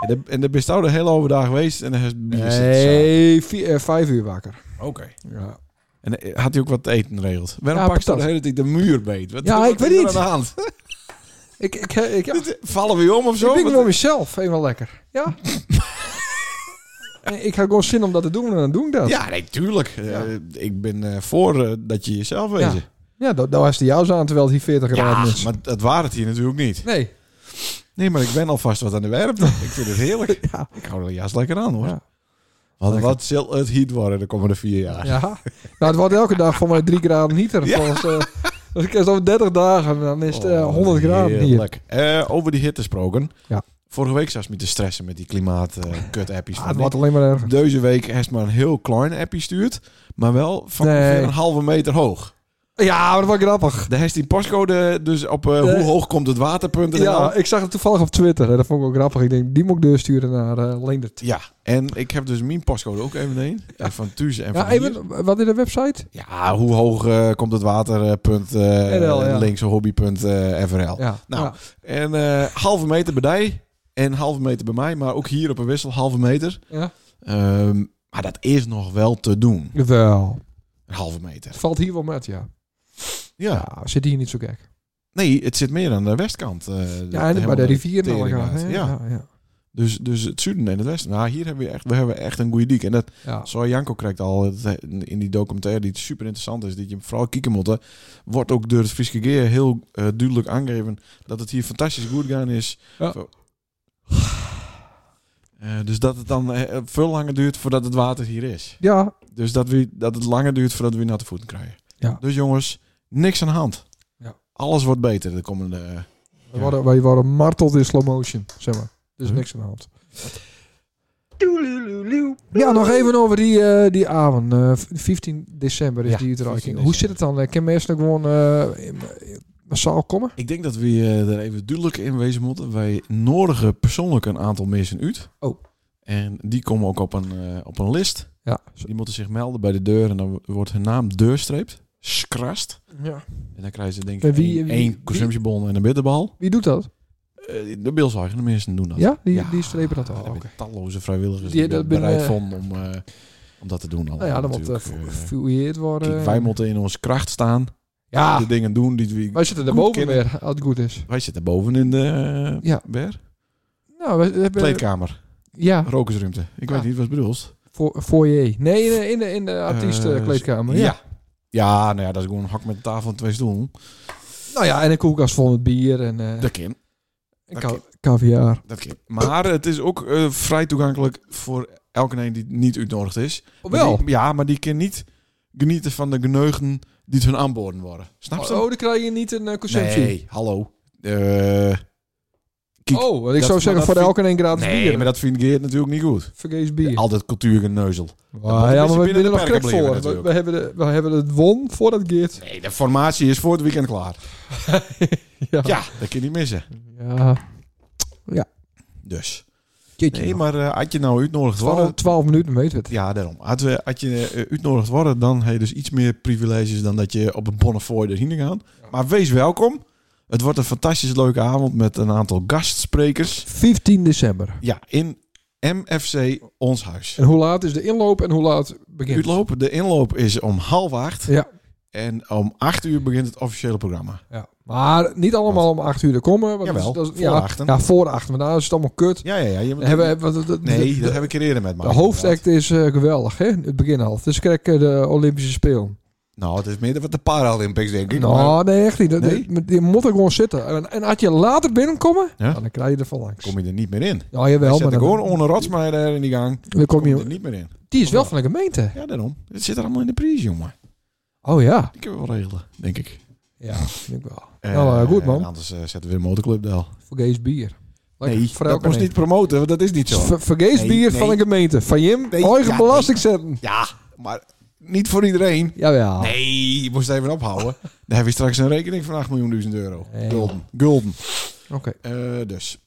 [SPEAKER 1] En de- En daar bist nou de hele overdag geweest en hij is bier zitten zuipen.
[SPEAKER 3] Nee, vi- eh, vijf uur wakker.
[SPEAKER 1] Oké.
[SPEAKER 3] Ja.
[SPEAKER 1] En eh, had hij ook wat te eten geregeld? Waarom
[SPEAKER 3] Ja,
[SPEAKER 1] pak je nou de
[SPEAKER 3] patat.
[SPEAKER 1] hele tijd de muur beet? Wat,
[SPEAKER 3] Ja,
[SPEAKER 1] wat
[SPEAKER 3] ik weet
[SPEAKER 1] is er
[SPEAKER 3] niet.
[SPEAKER 1] aan de hand?
[SPEAKER 3] Ik, ik, <laughs> ik, ja,
[SPEAKER 1] <laughs> Vallen we om of zo?
[SPEAKER 3] ik denk
[SPEAKER 1] Wat-
[SPEAKER 3] voor mezelf helemaal lekker. <laughs> Ja. En ik had gewoon zin om dat te doen en dan doe ik dat.
[SPEAKER 1] Ja, nee, tuurlijk. Eh, ik ben eh, voor eh, dat je jezelf
[SPEAKER 3] Ja. dus.
[SPEAKER 1] wezen.
[SPEAKER 3] Ja, dat, dat was de jouw aan terwijl het hier 40 graden is.
[SPEAKER 1] maar dat waren het hier natuurlijk niet.
[SPEAKER 3] Nee.
[SPEAKER 1] Nee, maar ik ben alvast wat aan de werpte. ik vind het heerlijk.
[SPEAKER 3] <laughs> Ja.
[SPEAKER 1] Ik hou er juist lekker aan hoor.
[SPEAKER 3] Ja.
[SPEAKER 1] Want
[SPEAKER 3] Lekker.
[SPEAKER 1] wat zal het heat worden de komende vier jaar?
[SPEAKER 3] Ja. Nou, het wordt elke dag voor mij 3 graden hieter.
[SPEAKER 1] Ja.
[SPEAKER 3] Volgens, eh, als ik eens over 30 dagen, dan is het eh,
[SPEAKER 1] Oh,
[SPEAKER 3] 100 graden hier.
[SPEAKER 1] heerlijk. Eh, over die hitte gesproken.
[SPEAKER 3] Ja.
[SPEAKER 1] Vorige week zat me te stressen met die eh, klimaatkut-appies.
[SPEAKER 3] Ah, het wordt alleen maar erger.
[SPEAKER 1] Deze week heeft maar een heel klein appie stuurt, maar wel van
[SPEAKER 3] Nee.
[SPEAKER 1] ongeveer een halve meter hoog.
[SPEAKER 3] Ja, maar dat was grappig.
[SPEAKER 1] De heeft die pascode dus op eh,
[SPEAKER 3] Eh,
[SPEAKER 1] hoe hoog komt het waterpunt.
[SPEAKER 3] Ja, ik zag het toevallig op Twitter. Hè. Dat vond ik ook grappig. Ik denk, die moet ik doorsturen naar eh Leendert.
[SPEAKER 1] ja, en ik heb dus mijn pascode ook even een. Eh, Van Thuis en van
[SPEAKER 3] Ja,
[SPEAKER 1] even...
[SPEAKER 3] even, wat in de website?
[SPEAKER 1] Ja, hoe hoog eh, komt het waterpunt eh
[SPEAKER 3] NL, ja.
[SPEAKER 1] links hobby.frl.
[SPEAKER 3] Ja.
[SPEAKER 1] Nou,
[SPEAKER 3] ja.
[SPEAKER 1] En eh, halve meter bij die en halve meter bij mij. Maar ook hier op een wissel halve meter.
[SPEAKER 3] Ja.
[SPEAKER 1] Ehm, maar dat is nog wel te doen.
[SPEAKER 3] Wel.
[SPEAKER 1] Een halve meter.
[SPEAKER 3] Het valt hier wel met, ja.
[SPEAKER 1] Ja.
[SPEAKER 3] Ja, zit hier niet zo gek.
[SPEAKER 1] Nee, het zit meer aan de westkant. eh,
[SPEAKER 3] Ja, en bij
[SPEAKER 1] helemaal
[SPEAKER 3] de rivier nog
[SPEAKER 1] teringaard.
[SPEAKER 3] ja.
[SPEAKER 1] Ja.
[SPEAKER 3] Ja, ja.
[SPEAKER 1] Dus, dus het zuiden en het westen. Nou, hier hebben we echt, we hebben echt een goede dik. En dat
[SPEAKER 3] ja.
[SPEAKER 1] Zo Janko krijgt al het- eh, in die documentaire die super interessant is, dat je hem vooral kieken moet, hè, wordt ook door het Friese Geer heel eh, duidelijk aangegeven dat het hier fantastisch goed gaan is.
[SPEAKER 3] Ja.
[SPEAKER 1] Zo. Eh, dus dat het dan eh, veel langer duurt voordat het water hier is.
[SPEAKER 3] Ja,
[SPEAKER 1] Dus dat, we, dat het langer duurt voordat we naar de voeten krijgen.
[SPEAKER 3] Ja.
[SPEAKER 1] Dus jongens, niks aan de hand.
[SPEAKER 3] Ja.
[SPEAKER 1] Alles wordt beter de komende... eh,
[SPEAKER 3] we worden, wij worden marteld in slow motion, zeg maar. Dus
[SPEAKER 1] Huh?
[SPEAKER 3] niks aan de hand. Ja, nog even over die, eh, die avond. eh, 15 december is
[SPEAKER 1] Ja,
[SPEAKER 3] die
[SPEAKER 1] 15
[SPEAKER 3] uitreiking. Hoe
[SPEAKER 1] december.
[SPEAKER 3] zit het dan? Eh, Kan mensen gewoon eh, in- in- massaal komen?
[SPEAKER 1] Ik denk dat we eh, er even duidelijk in wezen moeten. Wij nodigen persoonlijk een aantal mensen uit.
[SPEAKER 3] Oh.
[SPEAKER 1] En die komen ook op een, eh, op een list.
[SPEAKER 3] Ja.
[SPEAKER 1] Die moeten zich melden bij de deur en dan wordt hun naam deurstreept. Skrast.
[SPEAKER 3] ja.
[SPEAKER 1] En dan krijgen ze denk
[SPEAKER 3] En
[SPEAKER 1] ik
[SPEAKER 3] wie-
[SPEAKER 1] één,
[SPEAKER 3] wie-
[SPEAKER 1] één
[SPEAKER 3] wie-
[SPEAKER 1] consumptiebon en een bitterbal.
[SPEAKER 3] Wie doet dat?
[SPEAKER 1] Eh, de beeldzorgende mensen doen dat.
[SPEAKER 3] Ja, die,
[SPEAKER 1] Ja,
[SPEAKER 3] die strepen dat al.
[SPEAKER 1] Er
[SPEAKER 3] Oké.
[SPEAKER 1] zijn talloze vrijwilligers
[SPEAKER 3] Die-
[SPEAKER 1] die,
[SPEAKER 3] dat
[SPEAKER 1] dat
[SPEAKER 3] ben,
[SPEAKER 1] bereid
[SPEAKER 3] eh,
[SPEAKER 1] vonden om, eh, om dat te doen.
[SPEAKER 3] Nou ja, dan wordt eh,
[SPEAKER 1] Natuurlijk, eh,
[SPEAKER 3] gefouilleerd worden.
[SPEAKER 1] kijk, wij moeten in onze kracht staan.
[SPEAKER 3] ja,
[SPEAKER 1] De dingen doen die we...
[SPEAKER 3] wij zitten erboven
[SPEAKER 1] kunnen.
[SPEAKER 3] weer, als het goed is.
[SPEAKER 1] Wij zitten boven in de... eh,
[SPEAKER 3] Ja.
[SPEAKER 1] Ber?
[SPEAKER 3] Nou, we hebben...
[SPEAKER 1] Kleedkamer.
[SPEAKER 3] Ja,
[SPEAKER 1] Rokersruimte. Ik
[SPEAKER 3] Ja.
[SPEAKER 1] weet niet wat je bedoelt.
[SPEAKER 3] voor, foyer. Nee, in de, in de, in de artiestenkleedkamer. ja.
[SPEAKER 1] ja. Ja, nou ja, dat is gewoon een hak met een tafel en twee stoelen.
[SPEAKER 3] Nou ja, en een koelkast vol met bier en, eh
[SPEAKER 1] Dat kan,
[SPEAKER 3] en
[SPEAKER 1] dat
[SPEAKER 3] ka-
[SPEAKER 1] kan.
[SPEAKER 3] caviar.
[SPEAKER 1] dat kan. Maar het is ook eh, vrij toegankelijk voor elke een die niet uitnodigd is. Maar
[SPEAKER 3] Wel.
[SPEAKER 1] die- ja, maar die kan niet genieten van de geneugen die het hun aanboden worden. Snap
[SPEAKER 3] Oh,
[SPEAKER 1] je?
[SPEAKER 3] dan krijg je niet een eh, consumptie.
[SPEAKER 1] nee, hallo. Eh, Kijk,
[SPEAKER 3] oh, want ik
[SPEAKER 1] dat-
[SPEAKER 3] zou zeggen
[SPEAKER 1] maar
[SPEAKER 3] voor
[SPEAKER 1] dat
[SPEAKER 3] elke een gratis
[SPEAKER 1] Eh, Nee,
[SPEAKER 3] bier.
[SPEAKER 1] maar dat vind Geert natuurlijk niet goed.
[SPEAKER 3] Vergeet bier.
[SPEAKER 1] Altijd cultuurgeneuzel. moet
[SPEAKER 3] Ah,
[SPEAKER 1] een
[SPEAKER 3] ja,
[SPEAKER 1] beetje
[SPEAKER 3] maar we
[SPEAKER 1] binnen de
[SPEAKER 3] binnen nog
[SPEAKER 1] perken
[SPEAKER 3] krek voor.
[SPEAKER 1] blijven
[SPEAKER 3] We, we hebben de, we hebben het won voordat Geert.
[SPEAKER 1] Nee, de formatie is voor het weekend klaar.
[SPEAKER 3] Ja.
[SPEAKER 1] Ja, dat kun je niet missen.
[SPEAKER 3] ja.
[SPEAKER 1] Dus.
[SPEAKER 3] Jeetje,
[SPEAKER 1] Nee,
[SPEAKER 3] nog.
[SPEAKER 1] maar eh, had je nou uitnodigd
[SPEAKER 3] Twaalf,
[SPEAKER 1] worden...
[SPEAKER 3] twaalf minuten weten we het.
[SPEAKER 1] Ja, daarom. Had, we, had je eh, uitnodigd worden, dan heb je dus iets meer privileges dan dat je op een bonnefoy erheen gaat. Maar wees welkom. Het wordt een fantastisch leuke avond met een aantal gastsprekers.
[SPEAKER 3] 15 december.
[SPEAKER 1] Ja, in MFC Ons Huis.
[SPEAKER 3] En hoe laat is de inloop en hoe laat begint het?
[SPEAKER 1] Uitloop, de inloop is om half acht.
[SPEAKER 3] Ja.
[SPEAKER 1] En om acht uur begint het officiële programma.
[SPEAKER 3] Ja. Maar niet allemaal om 8 uur te komen. Want
[SPEAKER 1] Jawel,
[SPEAKER 3] dat is, dat is-
[SPEAKER 1] voor
[SPEAKER 3] ja,
[SPEAKER 1] achten.
[SPEAKER 3] Ja, voor achten. Maar daar is het allemaal kut.
[SPEAKER 1] Ja, ja, ja. Je moet-
[SPEAKER 3] Hebben, hebben, wat- wat-
[SPEAKER 1] nee,
[SPEAKER 3] de,
[SPEAKER 1] dat
[SPEAKER 3] de,
[SPEAKER 1] heb ik hier eerder met me.
[SPEAKER 3] de hoofdact is eh, geweldig, hè? Het begin al. Dus krijg ik eh, de Olympische Spelen.
[SPEAKER 1] Nou, het is meer wat de Paralympics, denk ik. maar
[SPEAKER 3] Nou, nee, echt niet. Dat-
[SPEAKER 1] Nee?
[SPEAKER 3] Die, die moet er gewoon zitten. En, en als je later binnenkomt,
[SPEAKER 1] Ja?
[SPEAKER 3] dan krijg je er van langs.
[SPEAKER 1] kom je er niet meer in.
[SPEAKER 3] Nou, jawel,
[SPEAKER 1] Wel, zet
[SPEAKER 3] maar
[SPEAKER 1] ik
[SPEAKER 3] dan,
[SPEAKER 1] gewoon onder rots maar daar in die gang.
[SPEAKER 3] dan kom
[SPEAKER 1] Kom je er
[SPEAKER 3] je...
[SPEAKER 1] niet meer in.
[SPEAKER 3] Die is wel van de gemeente.
[SPEAKER 1] Ja, daarom. Het zit er allemaal in de prijs, jongen.
[SPEAKER 3] Oh ja.
[SPEAKER 1] Die kunnen we wel regelen, denk ik.
[SPEAKER 3] Ja, vind ik wel.
[SPEAKER 1] Eh,
[SPEAKER 3] Nou, eh, goed, man.
[SPEAKER 1] en Anders eh, zetten we weer een motorclub daar.
[SPEAKER 3] Vergees bier. Lekker,
[SPEAKER 1] Nee,
[SPEAKER 3] voor
[SPEAKER 1] dat
[SPEAKER 3] elke
[SPEAKER 1] moest
[SPEAKER 3] een.
[SPEAKER 1] niet promoten, want dat is niet zo.
[SPEAKER 3] Ver- Vergees
[SPEAKER 1] Nee,
[SPEAKER 3] bier
[SPEAKER 1] nee.
[SPEAKER 3] van de gemeente. Van Jim,
[SPEAKER 1] Nee,
[SPEAKER 3] eigen
[SPEAKER 1] ja,
[SPEAKER 3] belasting zetten.
[SPEAKER 1] Ja, maar niet voor iedereen.
[SPEAKER 3] Jawel.
[SPEAKER 1] Nee, je moest even
[SPEAKER 3] <laughs>
[SPEAKER 1] ophouden. Dan heb je straks een rekening van 8 miljoen euro.
[SPEAKER 3] Nee.
[SPEAKER 1] Gulden. Gulden.
[SPEAKER 3] Oké.
[SPEAKER 1] Eh, dus.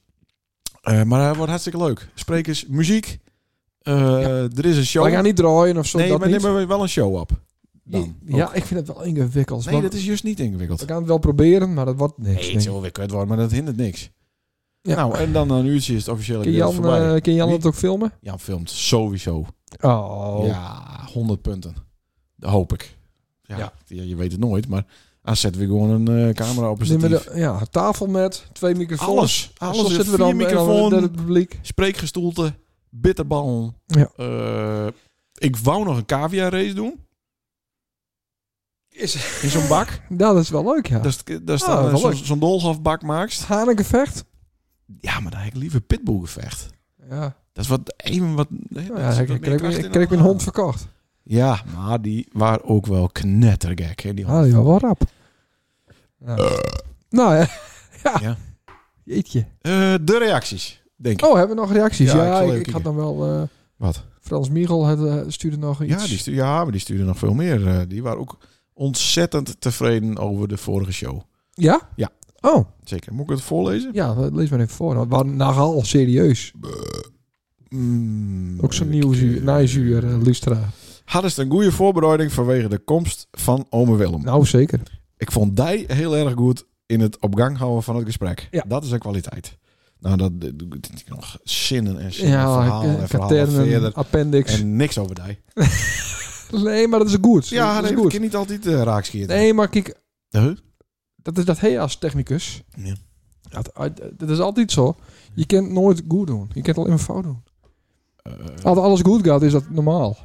[SPEAKER 1] Eh, maar het wordt hartstikke leuk. Sprekers, muziek. Eh, Er is een show.
[SPEAKER 3] We gaan niet draaien of zo.
[SPEAKER 1] nee,
[SPEAKER 3] dat
[SPEAKER 1] maar
[SPEAKER 3] niet.
[SPEAKER 1] nemen we wel een show op. Dan. Oh.
[SPEAKER 3] ja, ik vind het wel ingewikkeld.
[SPEAKER 1] Nee,
[SPEAKER 3] Want
[SPEAKER 1] dat is juist niet ingewikkeld.
[SPEAKER 3] We gaan het wel proberen, maar dat wordt niks.
[SPEAKER 1] Nee,
[SPEAKER 3] denk
[SPEAKER 1] het
[SPEAKER 3] ik.
[SPEAKER 1] zal weer kut worden, maar dat hindert niks.
[SPEAKER 3] Ja.
[SPEAKER 1] Nou, en dan een uurtje is het officiële
[SPEAKER 3] Ken
[SPEAKER 1] weer
[SPEAKER 3] Jan,
[SPEAKER 1] voorbij.
[SPEAKER 3] eh, ken Jan
[SPEAKER 1] Wie?
[SPEAKER 3] het ook filmen?
[SPEAKER 1] Jan filmt sowieso.
[SPEAKER 3] Oh.
[SPEAKER 1] Ja, 100 punten. Dat hoop ik. Ja,
[SPEAKER 3] Ja.
[SPEAKER 1] ja, je weet het nooit, maar dan zetten we gewoon een eh, camera op een
[SPEAKER 3] Nemen we
[SPEAKER 1] statief.
[SPEAKER 3] de, ja, een tafel met twee microfoons.
[SPEAKER 1] Alles.
[SPEAKER 3] En
[SPEAKER 1] Alles.
[SPEAKER 3] soms
[SPEAKER 1] Zitten we
[SPEAKER 3] dan eh,
[SPEAKER 1] dan
[SPEAKER 3] en dan
[SPEAKER 1] microfoon.
[SPEAKER 3] naar het publiek.
[SPEAKER 1] Spreekgestoelte, bitterbal.
[SPEAKER 3] Ja.
[SPEAKER 1] Eh, ik wou nog een cavia race doen.
[SPEAKER 3] Is,
[SPEAKER 1] In zo'n bak.
[SPEAKER 3] <laughs> ja, dat is wel leuk, ja.
[SPEAKER 1] Dat is, dat is
[SPEAKER 3] Ah,
[SPEAKER 1] dan, eh,
[SPEAKER 3] wel
[SPEAKER 1] zo'n
[SPEAKER 3] leuk.
[SPEAKER 1] zo'n dolhofbak maakt.
[SPEAKER 3] Hanengevecht?
[SPEAKER 1] Ja, maar dan heb ik liever pitbullgevecht.
[SPEAKER 3] Ja,
[SPEAKER 1] Dat is wat even wat...
[SPEAKER 3] nou ja, ik- ik kreeg
[SPEAKER 1] kracht
[SPEAKER 3] ik
[SPEAKER 1] in
[SPEAKER 3] kreeg
[SPEAKER 1] dan-
[SPEAKER 3] mijn hond verkocht.
[SPEAKER 1] Ja, maar die waren ook wel knettergek. Hè, die
[SPEAKER 3] Ah, die was wel rap. Ja. Nou ja. <laughs> ja.
[SPEAKER 1] Eh. Ja.
[SPEAKER 3] Jeetje.
[SPEAKER 1] Eh, de reacties, denk ik.
[SPEAKER 3] Oh, hebben we nog reacties?
[SPEAKER 1] Ja,
[SPEAKER 3] Ja,
[SPEAKER 1] ik zal
[SPEAKER 3] ik,
[SPEAKER 1] even
[SPEAKER 3] ik had
[SPEAKER 1] kijken.
[SPEAKER 3] dan wel... eh,
[SPEAKER 1] Wat?
[SPEAKER 3] Frans Michel had, eh, stuurde nog iets.
[SPEAKER 1] Ja, die stu- ja, maar die stuurden nog veel meer. eh, die waren ook ontzettend tevreden over de vorige show.
[SPEAKER 3] Ja?
[SPEAKER 1] Ja.
[SPEAKER 3] Oh,
[SPEAKER 1] Zeker. Moet ik het voorlezen?
[SPEAKER 3] ja, dat lees maar even voor. Want We waren nogal serieus.
[SPEAKER 1] Mm,
[SPEAKER 3] Ook zo'n
[SPEAKER 1] ik,
[SPEAKER 3] nieuw zuur,
[SPEAKER 1] eh,
[SPEAKER 3] naaizuur, eh, Lustra.
[SPEAKER 1] Hadden ze een goede voorbereiding vanwege de komst van ome Willem.
[SPEAKER 3] Nou, zeker.
[SPEAKER 1] Ik vond die heel erg goed in het op gang houden van het gesprek.
[SPEAKER 3] Ja.
[SPEAKER 1] Dat is een kwaliteit. Nou, dat dat- dat- dat- nog zinnen en zinnen,
[SPEAKER 3] Ja,
[SPEAKER 1] verhalen en
[SPEAKER 3] eh,
[SPEAKER 1] verhalen verder.
[SPEAKER 3] katernen, appendix.
[SPEAKER 1] En niks over die.
[SPEAKER 3] Nee, maar dat is goed.
[SPEAKER 1] Ja,
[SPEAKER 3] dat
[SPEAKER 1] dat
[SPEAKER 3] is
[SPEAKER 1] heb
[SPEAKER 3] goed.
[SPEAKER 1] ik niet altijd eh raakschieten.
[SPEAKER 3] Nee, maar kijk,
[SPEAKER 1] Huh?
[SPEAKER 3] dat is dat hij als technicus.
[SPEAKER 1] Ja.
[SPEAKER 3] Dat, dat is altijd zo. Je kent nooit goed doen. Je kent alleen maar fout doen.
[SPEAKER 1] Eh,
[SPEAKER 3] Als alles goed gaat, is dat normaal.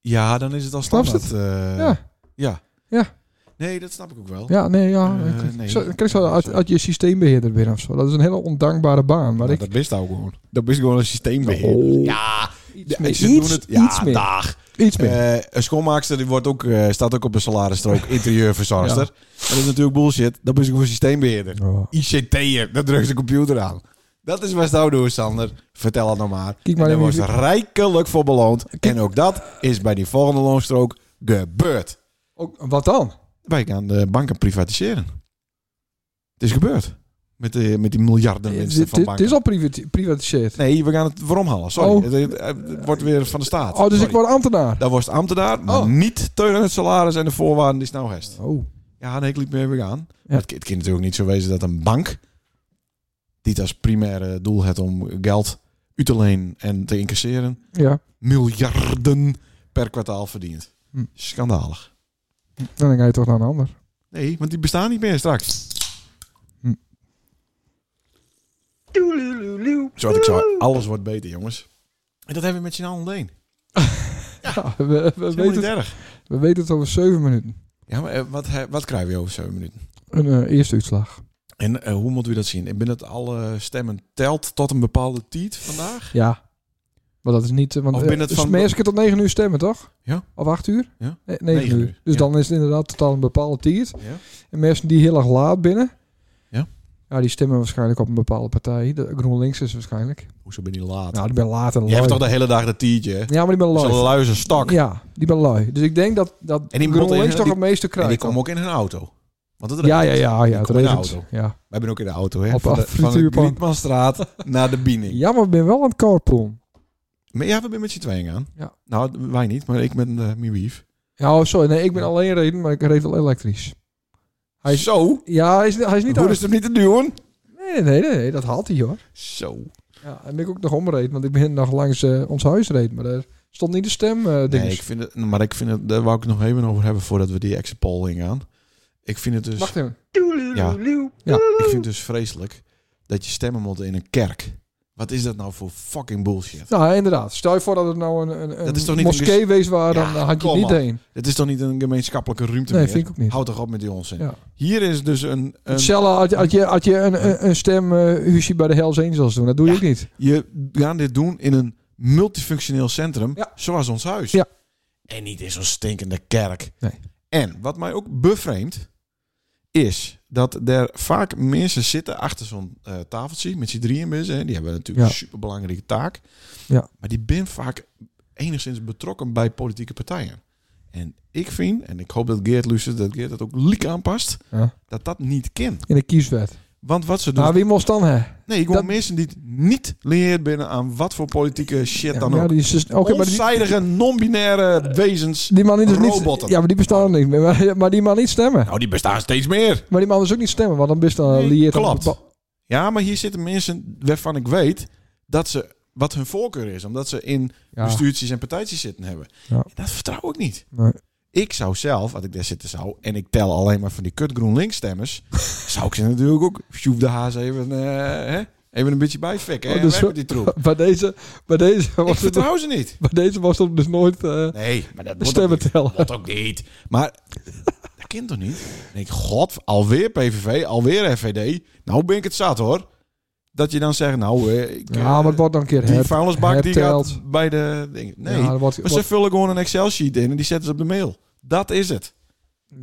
[SPEAKER 1] ja, dan is het al
[SPEAKER 3] Snap je
[SPEAKER 1] standaard.
[SPEAKER 3] het?
[SPEAKER 1] eh,
[SPEAKER 3] Ja.
[SPEAKER 1] ja.
[SPEAKER 3] Ja.
[SPEAKER 1] Nee, dat snap ik ook wel.
[SPEAKER 3] Ja, nee, ja.
[SPEAKER 1] Eh,
[SPEAKER 3] ik- ik-
[SPEAKER 1] nee.
[SPEAKER 3] zo- Dan krijg je zo uit, uit je systeembeheerder binnen of zo. Dat is een hele ondankbare baan. Maar
[SPEAKER 1] Maar
[SPEAKER 3] ik,
[SPEAKER 1] dat is ook gewoon. Dat is gewoon een systeembeheer.
[SPEAKER 3] Oh.
[SPEAKER 1] Ja,
[SPEAKER 3] iets
[SPEAKER 1] ja,
[SPEAKER 3] meer.
[SPEAKER 1] ze doen
[SPEAKER 3] Iets,
[SPEAKER 1] het- ja,
[SPEAKER 3] iets meer.
[SPEAKER 1] dag.
[SPEAKER 3] iets meer.
[SPEAKER 1] Eh, een schoonmaakster die wordt ook, eh, staat ook op een
[SPEAKER 3] <laughs>
[SPEAKER 1] salarisstrook, interieurverzorgster. Maar Dat is natuurlijk bullshit. Dat is gewoon een systeembeheerder.
[SPEAKER 3] Oh.
[SPEAKER 1] ICT'er, dat drukt de computer aan. Dat is wat jou doen, Sander. Vertel het nou maar.
[SPEAKER 3] Kijk maar
[SPEAKER 1] en daar wordt
[SPEAKER 3] in wie-
[SPEAKER 1] rijkelijk voor beloond. En ook dat is bij die volgende loonstrook gebeurd.
[SPEAKER 3] Ook, Oh, wat dan?
[SPEAKER 1] Wij gaan de banken privatiseren. Het is gebeurd. Met, de, met die miljarden
[SPEAKER 3] Het
[SPEAKER 1] winsten van
[SPEAKER 3] het- het
[SPEAKER 1] banken.
[SPEAKER 3] is al privati- privatiseerd.
[SPEAKER 1] Nee, we gaan het waarom halen. Sorry.
[SPEAKER 3] Oh.
[SPEAKER 1] Het, het- het wordt weer van de staat.
[SPEAKER 3] Oh, dus
[SPEAKER 1] Sorry.
[SPEAKER 3] ik word ambtenaar.
[SPEAKER 1] Daar was het ambtenaar, maar
[SPEAKER 3] Oh.
[SPEAKER 1] niet tegen het salaris en de voorwaarden die snel hest.
[SPEAKER 3] Oh.
[SPEAKER 1] Ja, nee, ik liep mee weer aan.
[SPEAKER 3] Ja.
[SPEAKER 1] Het, het kan natuurlijk niet zo wezen dat een bank, die het als primaire doel heeft om geld uit te lenen en te incasseren,
[SPEAKER 3] Ja,
[SPEAKER 1] miljarden per kwartaal verdient.
[SPEAKER 3] Hm.
[SPEAKER 1] Schandalig.
[SPEAKER 3] dan ga je toch naar een ander.
[SPEAKER 1] Nee, want die bestaan niet meer straks.
[SPEAKER 3] Hm.
[SPEAKER 1] Zoals ik zei, alles wordt beter, jongens. En dat hebben we met z'n allen alleen.
[SPEAKER 3] Ja, <laughs> we,
[SPEAKER 1] Dat is helemaal
[SPEAKER 3] we weten
[SPEAKER 1] niet
[SPEAKER 3] het,
[SPEAKER 1] erg.
[SPEAKER 3] we weten het over zeven minuten.
[SPEAKER 1] Ja, maar eh, wat, he- wat krijgen we over zeven minuten?
[SPEAKER 3] Een eh, eerste uitslag.
[SPEAKER 1] En eh, hoe moeten we dat zien? Ik ben dat alle stemmen telt tot een bepaalde tijd vandaag?
[SPEAKER 3] Ja. Maar dat is niet... eh, Want,
[SPEAKER 1] Of
[SPEAKER 3] eh,
[SPEAKER 1] binnen het
[SPEAKER 3] dus
[SPEAKER 1] van-
[SPEAKER 3] mensen kunnen tot negen uur stemmen, toch?
[SPEAKER 1] Ja.
[SPEAKER 3] Of acht uur?
[SPEAKER 1] Ja.
[SPEAKER 3] Nee, negen,
[SPEAKER 1] Negen
[SPEAKER 3] uur.
[SPEAKER 1] uur,
[SPEAKER 3] Dus
[SPEAKER 1] ja.
[SPEAKER 3] dan is het inderdaad totaal een bepaalde tijd.
[SPEAKER 1] Ja.
[SPEAKER 3] En mensen die heel erg laat binnen...
[SPEAKER 1] Ja.
[SPEAKER 3] Ja, die stemmen waarschijnlijk op een bepaalde partij. De GroenLinks is waarschijnlijk.
[SPEAKER 1] Hoezo ben je laat?
[SPEAKER 3] Nou, die ben later
[SPEAKER 1] je hebt toch de hele dag dat tientje, hè?
[SPEAKER 3] Ja, maar die ben
[SPEAKER 1] Zo'n
[SPEAKER 3] lui.
[SPEAKER 1] luizen stok.
[SPEAKER 3] Ja, die ben lui. Dus ik denk dat, dat
[SPEAKER 1] En die moeten in-
[SPEAKER 3] GroenLinks toch
[SPEAKER 1] die-
[SPEAKER 3] het meeste
[SPEAKER 1] En
[SPEAKER 3] krijgt.
[SPEAKER 1] die komen ook in hun auto. Want het
[SPEAKER 3] ja, ja,
[SPEAKER 1] regent.
[SPEAKER 3] ja, ja.
[SPEAKER 1] Die
[SPEAKER 3] Het
[SPEAKER 1] komen in de
[SPEAKER 3] regent.
[SPEAKER 1] auto.
[SPEAKER 3] Ja.
[SPEAKER 1] Wij zijn ook in de auto, hè?
[SPEAKER 3] Op
[SPEAKER 1] van de,
[SPEAKER 3] een
[SPEAKER 1] van de
[SPEAKER 3] frituurpan. <laughs>
[SPEAKER 1] Grietmanstraat naar de Biening.
[SPEAKER 3] ja, maar ik ben wel aan het carpoolen.
[SPEAKER 1] Maar ja, we zijn met z'n tweeën aan.
[SPEAKER 3] Ja.
[SPEAKER 1] Nou, wij niet, maar ik met eh mijn wief.
[SPEAKER 3] Ja, oh, sorry. Nee, ik ben alleen reden, maar ik reed wel elektrisch. Hij is-
[SPEAKER 1] Zo,
[SPEAKER 3] Ja, hij is, hij is niet
[SPEAKER 1] hoe
[SPEAKER 3] hard.
[SPEAKER 1] is het niet te doen?
[SPEAKER 3] Nee, nee, nee, nee, dat haalt hij hoor.
[SPEAKER 1] Zo.
[SPEAKER 3] Ja, en ben ik ook nog omreed, want ik ben nog langs eh, ons huis reed, maar daar stond niet de stem. eh
[SPEAKER 1] Nee,
[SPEAKER 3] dinges.
[SPEAKER 1] ik vind het, maar ik vind het, daar wou ik het nog even over hebben voordat we die exit poll ingaan. Ik vind het dus,
[SPEAKER 3] Wacht even.
[SPEAKER 1] Ja.
[SPEAKER 3] Ja.
[SPEAKER 1] ik vind het dus vreselijk dat je stemmen moet in een kerk. Wat is dat nou voor fucking bullshit?
[SPEAKER 3] Nou, inderdaad. Stel je voor dat het nou een, een,
[SPEAKER 1] Dat is
[SPEAKER 3] een
[SPEAKER 1] toch niet een
[SPEAKER 3] moskee wees waar,
[SPEAKER 1] Ja,
[SPEAKER 3] dan had je
[SPEAKER 1] kom
[SPEAKER 3] niet
[SPEAKER 1] op.
[SPEAKER 3] heen.
[SPEAKER 1] Dit is toch niet een gemeenschappelijke ruimte
[SPEAKER 3] Nee,
[SPEAKER 1] meer?
[SPEAKER 3] vind ik ook niet.
[SPEAKER 1] Houd toch op met die onzin.
[SPEAKER 3] Ja.
[SPEAKER 1] Hier is dus een, een
[SPEAKER 3] Hetzelfde had, je- had je, had je een, een, een stem eh, Huusie bij de Hells Angels doen. Dat doe je
[SPEAKER 1] Ja.
[SPEAKER 3] ook niet.
[SPEAKER 1] Je gaat dit doen in een multifunctioneel centrum,
[SPEAKER 3] Ja.
[SPEAKER 1] zoals ons huis.
[SPEAKER 3] Ja.
[SPEAKER 1] En niet in zo'n stinkende kerk.
[SPEAKER 3] Nee.
[SPEAKER 1] En wat mij ook bevreemdt, is dat er vaak mensen zitten achter zo'n eh, tafeltje met z'n drieën mensen. hè. Die hebben natuurlijk
[SPEAKER 3] Ja.
[SPEAKER 1] een superbelangrijke taak.
[SPEAKER 3] Ja.
[SPEAKER 1] Maar die ben vaak enigszins betrokken bij politieke partijen. En ik vind, en ik hoop dat Geert luistert, dat Geert dat ook liek aanpast,
[SPEAKER 3] Ja.
[SPEAKER 1] dat dat niet kan.
[SPEAKER 3] In de kieswet.
[SPEAKER 1] Want wat ze doen...
[SPEAKER 3] Maar wie moest dan hè?
[SPEAKER 1] nee, ik wil
[SPEAKER 3] dat-
[SPEAKER 1] mensen die het niet leert binnen aan wat voor politieke shit dan ook.
[SPEAKER 3] ja, die, is dus- oké, maar die,
[SPEAKER 1] Onzijdige, non-binaire wezens.
[SPEAKER 3] Eh, die man die dus
[SPEAKER 1] robotten.
[SPEAKER 3] niet. Ja, maar die bestaan niet. meer. Maar, maar die man niet stemmen.
[SPEAKER 1] Nou, die bestaan steeds meer.
[SPEAKER 3] Maar die man dus ook niet stemmen, want dan best dan
[SPEAKER 1] Nee,
[SPEAKER 3] lieert aan
[SPEAKER 1] klopt.
[SPEAKER 3] bepa-
[SPEAKER 1] Ja, maar hier zitten mensen waarvan ik weet dat ze wat hun voorkeur is. Omdat ze in
[SPEAKER 3] Ja.
[SPEAKER 1] bestuurtjes en partijtjes zitten hebben.
[SPEAKER 3] Ja.
[SPEAKER 1] En dat vertrouw ik niet.
[SPEAKER 3] Nee.
[SPEAKER 1] Ik zou zelf, als ik daar zitten zou, en ik tel alleen maar van die kut GroenLinks
[SPEAKER 3] <laughs>
[SPEAKER 1] stemmers, zou ik ze natuurlijk ook, Sjoep de Haas even, eh, hè? even een beetje bijvekken. hè,
[SPEAKER 3] Oh, dus
[SPEAKER 1] weg
[SPEAKER 3] zo-
[SPEAKER 1] met die
[SPEAKER 3] <laughs>
[SPEAKER 1] troep.
[SPEAKER 3] Bij deze, bij deze
[SPEAKER 1] Ik
[SPEAKER 3] was het,
[SPEAKER 1] vertrouw ze niet.
[SPEAKER 3] bij deze was het dus nooit eh
[SPEAKER 1] Nee, maar dat wordt ook
[SPEAKER 3] stemmen
[SPEAKER 1] niet.
[SPEAKER 3] tellen.
[SPEAKER 1] Dat ook niet. Maar <laughs> dat kind toch niet? Dan denk ik, god, alweer PVV, alweer FVD. Nou ben ik het zat hoor. Dat je dan zegt, nou, eh, ik, eh,
[SPEAKER 3] Ja, maar het wordt dan een keer
[SPEAKER 1] die
[SPEAKER 3] her-
[SPEAKER 1] vuilnisbak die
[SPEAKER 3] herteld.
[SPEAKER 1] gaat bij de... ding. Nee,
[SPEAKER 3] Ja, dat wordt,
[SPEAKER 1] maar ze
[SPEAKER 3] wordt-
[SPEAKER 1] vullen gewoon een Excel-sheet in en die zetten ze op de mail. Dat is het.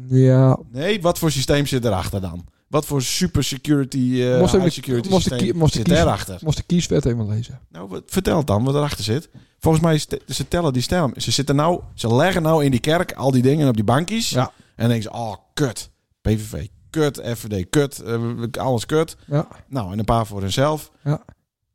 [SPEAKER 3] ja,
[SPEAKER 1] Nee, wat voor systeem zit erachter dan? Wat voor super security, eh
[SPEAKER 3] Moest ik-
[SPEAKER 1] high security
[SPEAKER 3] moest ik-
[SPEAKER 1] systeem
[SPEAKER 3] moest ik
[SPEAKER 1] zit
[SPEAKER 3] kiezen?
[SPEAKER 1] daarachter?
[SPEAKER 3] moest de kieswet even lezen.
[SPEAKER 1] Nou, wat, vertel dan wat erachter zit. Volgens mij, is te- ze tellen die stem. Ze zitten nou, ze leggen nou in die kerk al die dingen op die bankjes.
[SPEAKER 3] Ja.
[SPEAKER 1] En denken ze, oh, kut. PVV, kut. FVD, kut. eh, alles kut.
[SPEAKER 3] Ja,
[SPEAKER 1] Nou, en een paar voor hunzelf.
[SPEAKER 3] Ja.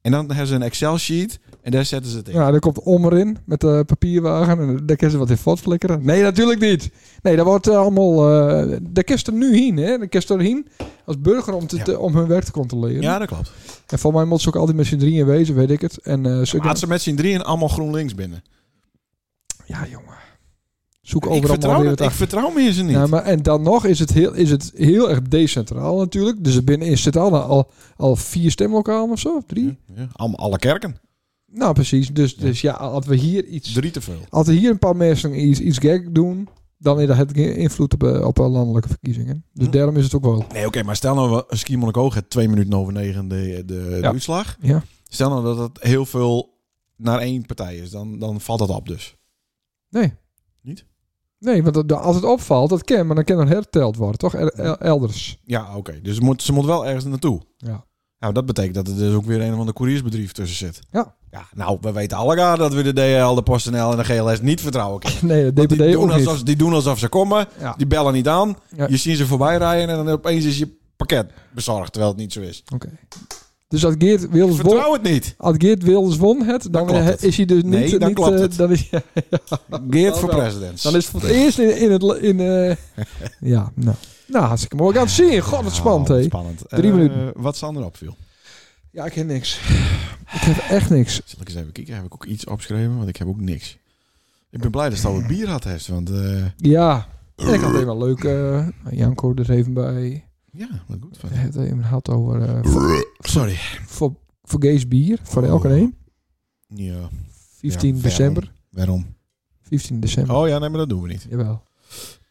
[SPEAKER 1] En dan hebben ze een Excel-sheet en daar zetten ze het in.
[SPEAKER 3] ja daar komt Omer in met de papierwagen en daar kan ze wat in voortflikkeren. Nee, natuurlijk niet. Nee, dat wordt eh, allemaal... eh daar kan ze er nu heen, hè. Daar kan ze erheen als burger om, te,
[SPEAKER 1] Ja.
[SPEAKER 3] te- om hun werk te controleren.
[SPEAKER 1] Ja, dat klopt.
[SPEAKER 3] En voor mij moet ze ook altijd met z'n drieën wezen, weet ik het. En, eh, ze
[SPEAKER 1] Laat ze met z'n drieën allemaal GroenLinks binnen.
[SPEAKER 3] Ja, jongen. Zoek
[SPEAKER 1] Ik
[SPEAKER 3] overal maar
[SPEAKER 1] vertrouw,
[SPEAKER 3] weer
[SPEAKER 1] dat,
[SPEAKER 3] wat
[SPEAKER 1] ik
[SPEAKER 3] achter.
[SPEAKER 1] vertrouw meer ze niet.
[SPEAKER 3] Ja, maar, en dan nog is het heel, is het heel erg decentraal natuurlijk. Dus er binnen is het al, al, al vier stemlokalen of zo, of drie.
[SPEAKER 1] Ja, allemaal, alle kerken.
[SPEAKER 3] Nou, precies. Dus ja, dus, ja als we hier iets...
[SPEAKER 1] Drie te veel.
[SPEAKER 3] Als er hier een paar mensen iets, iets gek doen... dan is dat het geen invloed op, eh, op eh, landelijke verkiezingen. Dus
[SPEAKER 1] Hm.
[SPEAKER 3] daarom is het ook wel...
[SPEAKER 1] Nee, oké, maar stel nou, we- een Ski Monnik het twee minuten over negen de, de, de
[SPEAKER 3] Ja.
[SPEAKER 1] uitslag.
[SPEAKER 3] Ja.
[SPEAKER 1] Stel nou dat het heel veel naar één partij is, dan, dan valt dat op dus.
[SPEAKER 3] Nee.
[SPEAKER 1] Niet?
[SPEAKER 3] Nee, want dat- dat- als het opvalt, dat kan. Maar dan kan er herteld worden, toch? Er- el- elders.
[SPEAKER 1] <laughs> Ja, oké. Dus moet, ze moet wel ergens naartoe.
[SPEAKER 3] Ja.
[SPEAKER 1] Nou, dat betekent dat er dus ook weer een of ander couriersbedrijf tussen zit.
[SPEAKER 3] Ja.
[SPEAKER 1] Ja, nou, we weten allemaal dat we de DHL, de PostNL en de GLS niet vertrouwen
[SPEAKER 3] <laughs>
[SPEAKER 1] kunnen.
[SPEAKER 3] Nee, de
[SPEAKER 1] Want die,
[SPEAKER 3] DPD
[SPEAKER 1] doen
[SPEAKER 3] ook niet.
[SPEAKER 1] alsof, die doen alsof ze komen,
[SPEAKER 3] Ja.
[SPEAKER 1] die bellen niet aan,
[SPEAKER 3] Ja.
[SPEAKER 1] je ziet ze voorbij rijden en dan opeens is je pakket bezorgd, terwijl het niet zo is.
[SPEAKER 3] Oké. Dus als Geert Wilders won...
[SPEAKER 1] Vertrouw het niet.
[SPEAKER 3] Als Geert Wilders won het, dan,
[SPEAKER 1] klopt het.
[SPEAKER 3] is hij dus niet...
[SPEAKER 1] Nee, dan
[SPEAKER 3] niet,
[SPEAKER 1] klopt
[SPEAKER 3] eh,
[SPEAKER 1] het.
[SPEAKER 3] Dan is,
[SPEAKER 1] Geert voor
[SPEAKER 3] wel.
[SPEAKER 1] president.
[SPEAKER 3] Nou, dan is het voor het eerst in, in het... In, eh, ja, nou. Nou, hartstikke mooi. We gaan het zien. God, wat spannend,
[SPEAKER 1] Oh,
[SPEAKER 3] hè.
[SPEAKER 1] Spannend.
[SPEAKER 3] Drie
[SPEAKER 1] Eh,
[SPEAKER 3] minuten.
[SPEAKER 1] Wat Sander opviel.
[SPEAKER 3] Ja, ik heb niks. Ik heb echt niks.
[SPEAKER 1] Zal ik eens even kijken, heb ik ook iets opgeschreven, want ik heb ook niks. Ik ben blij dat Stal het bier had heeft, want eh,
[SPEAKER 3] Ja. En ik had even wel leuk. eh, Janko er even bij.
[SPEAKER 1] ja, wat goed.
[SPEAKER 3] Hij heeft het even gehad over. eh, voor,
[SPEAKER 1] Sorry.
[SPEAKER 3] voor, voor gays bier. Voor
[SPEAKER 1] Oh.
[SPEAKER 3] elke een.
[SPEAKER 1] Ja,
[SPEAKER 3] 15
[SPEAKER 1] Ja,
[SPEAKER 3] december.
[SPEAKER 1] waarom?
[SPEAKER 3] 15 december.
[SPEAKER 1] Oh ja, nee, maar dat doen we niet.
[SPEAKER 3] Jawel.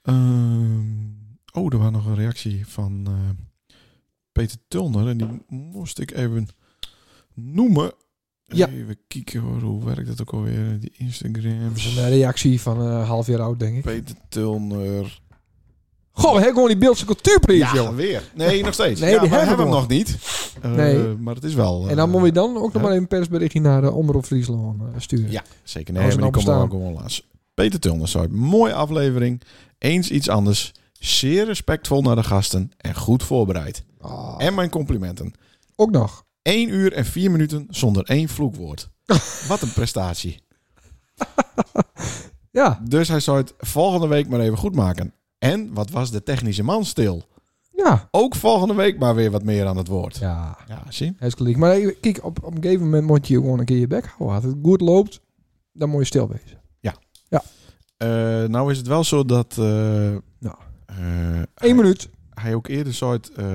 [SPEAKER 1] Ehm, oh, er was nog een reactie van eh, Peter Tulner. En die moest ik even noemen.
[SPEAKER 3] Ja.
[SPEAKER 1] Even kijken hoor, hoe werkt dat ook alweer? Die Instagram.
[SPEAKER 3] Dat is een eh, reactie van eh, half jaar oud, denk ik.
[SPEAKER 1] Peter Tulner.
[SPEAKER 3] Goh, we hebben gewoon die Beeldse cultuurprijs,
[SPEAKER 1] Ja,
[SPEAKER 3] joh.
[SPEAKER 1] weer. Nee, nog steeds.
[SPEAKER 3] <laughs> Nee,
[SPEAKER 1] ja,
[SPEAKER 3] die
[SPEAKER 1] maar we
[SPEAKER 3] hebben
[SPEAKER 1] hebben
[SPEAKER 3] we
[SPEAKER 1] hem nog niet. Eh,
[SPEAKER 3] Nee.
[SPEAKER 1] Maar het is wel...
[SPEAKER 3] En dan
[SPEAKER 1] eh,
[SPEAKER 3] moet je dan ook nog
[SPEAKER 1] ja.
[SPEAKER 3] maar even persberichtje naar de Omroep Friesland eh, sturen.
[SPEAKER 1] Ja, zeker. Nee,
[SPEAKER 3] Als
[SPEAKER 1] maar
[SPEAKER 3] we
[SPEAKER 1] die komen we
[SPEAKER 3] nou
[SPEAKER 1] ook
[SPEAKER 3] bestaan.
[SPEAKER 1] gewoon laatst. Peter Tulners, mooie aflevering. Eens iets anders. Zeer respectvol naar de gasten en goed voorbereid.
[SPEAKER 3] Ah,
[SPEAKER 1] En mijn complimenten.
[SPEAKER 3] ook nog.
[SPEAKER 1] 1 uur en 4 minuten zonder één
[SPEAKER 3] <laughs>
[SPEAKER 1] vloekwoord. Wat een prestatie.
[SPEAKER 3] Ja,
[SPEAKER 1] Dus hij zou het volgende week maar even goed maken. En wat was de technische man stil?
[SPEAKER 3] ja.
[SPEAKER 1] Ook volgende week maar weer wat meer aan het woord. Ja,
[SPEAKER 3] Ja,
[SPEAKER 1] zie.
[SPEAKER 3] hij is gelijk. Maar eh, kijk, op, op een gegeven moment moet je gewoon een keer je bek houden. Als het goed loopt, dan moet je stil wezen.
[SPEAKER 1] Eh, nou is het wel zo dat... eh
[SPEAKER 3] Nou.
[SPEAKER 1] eh, hij-
[SPEAKER 3] Eén minuut.
[SPEAKER 1] hij ook eerder zou het, eh,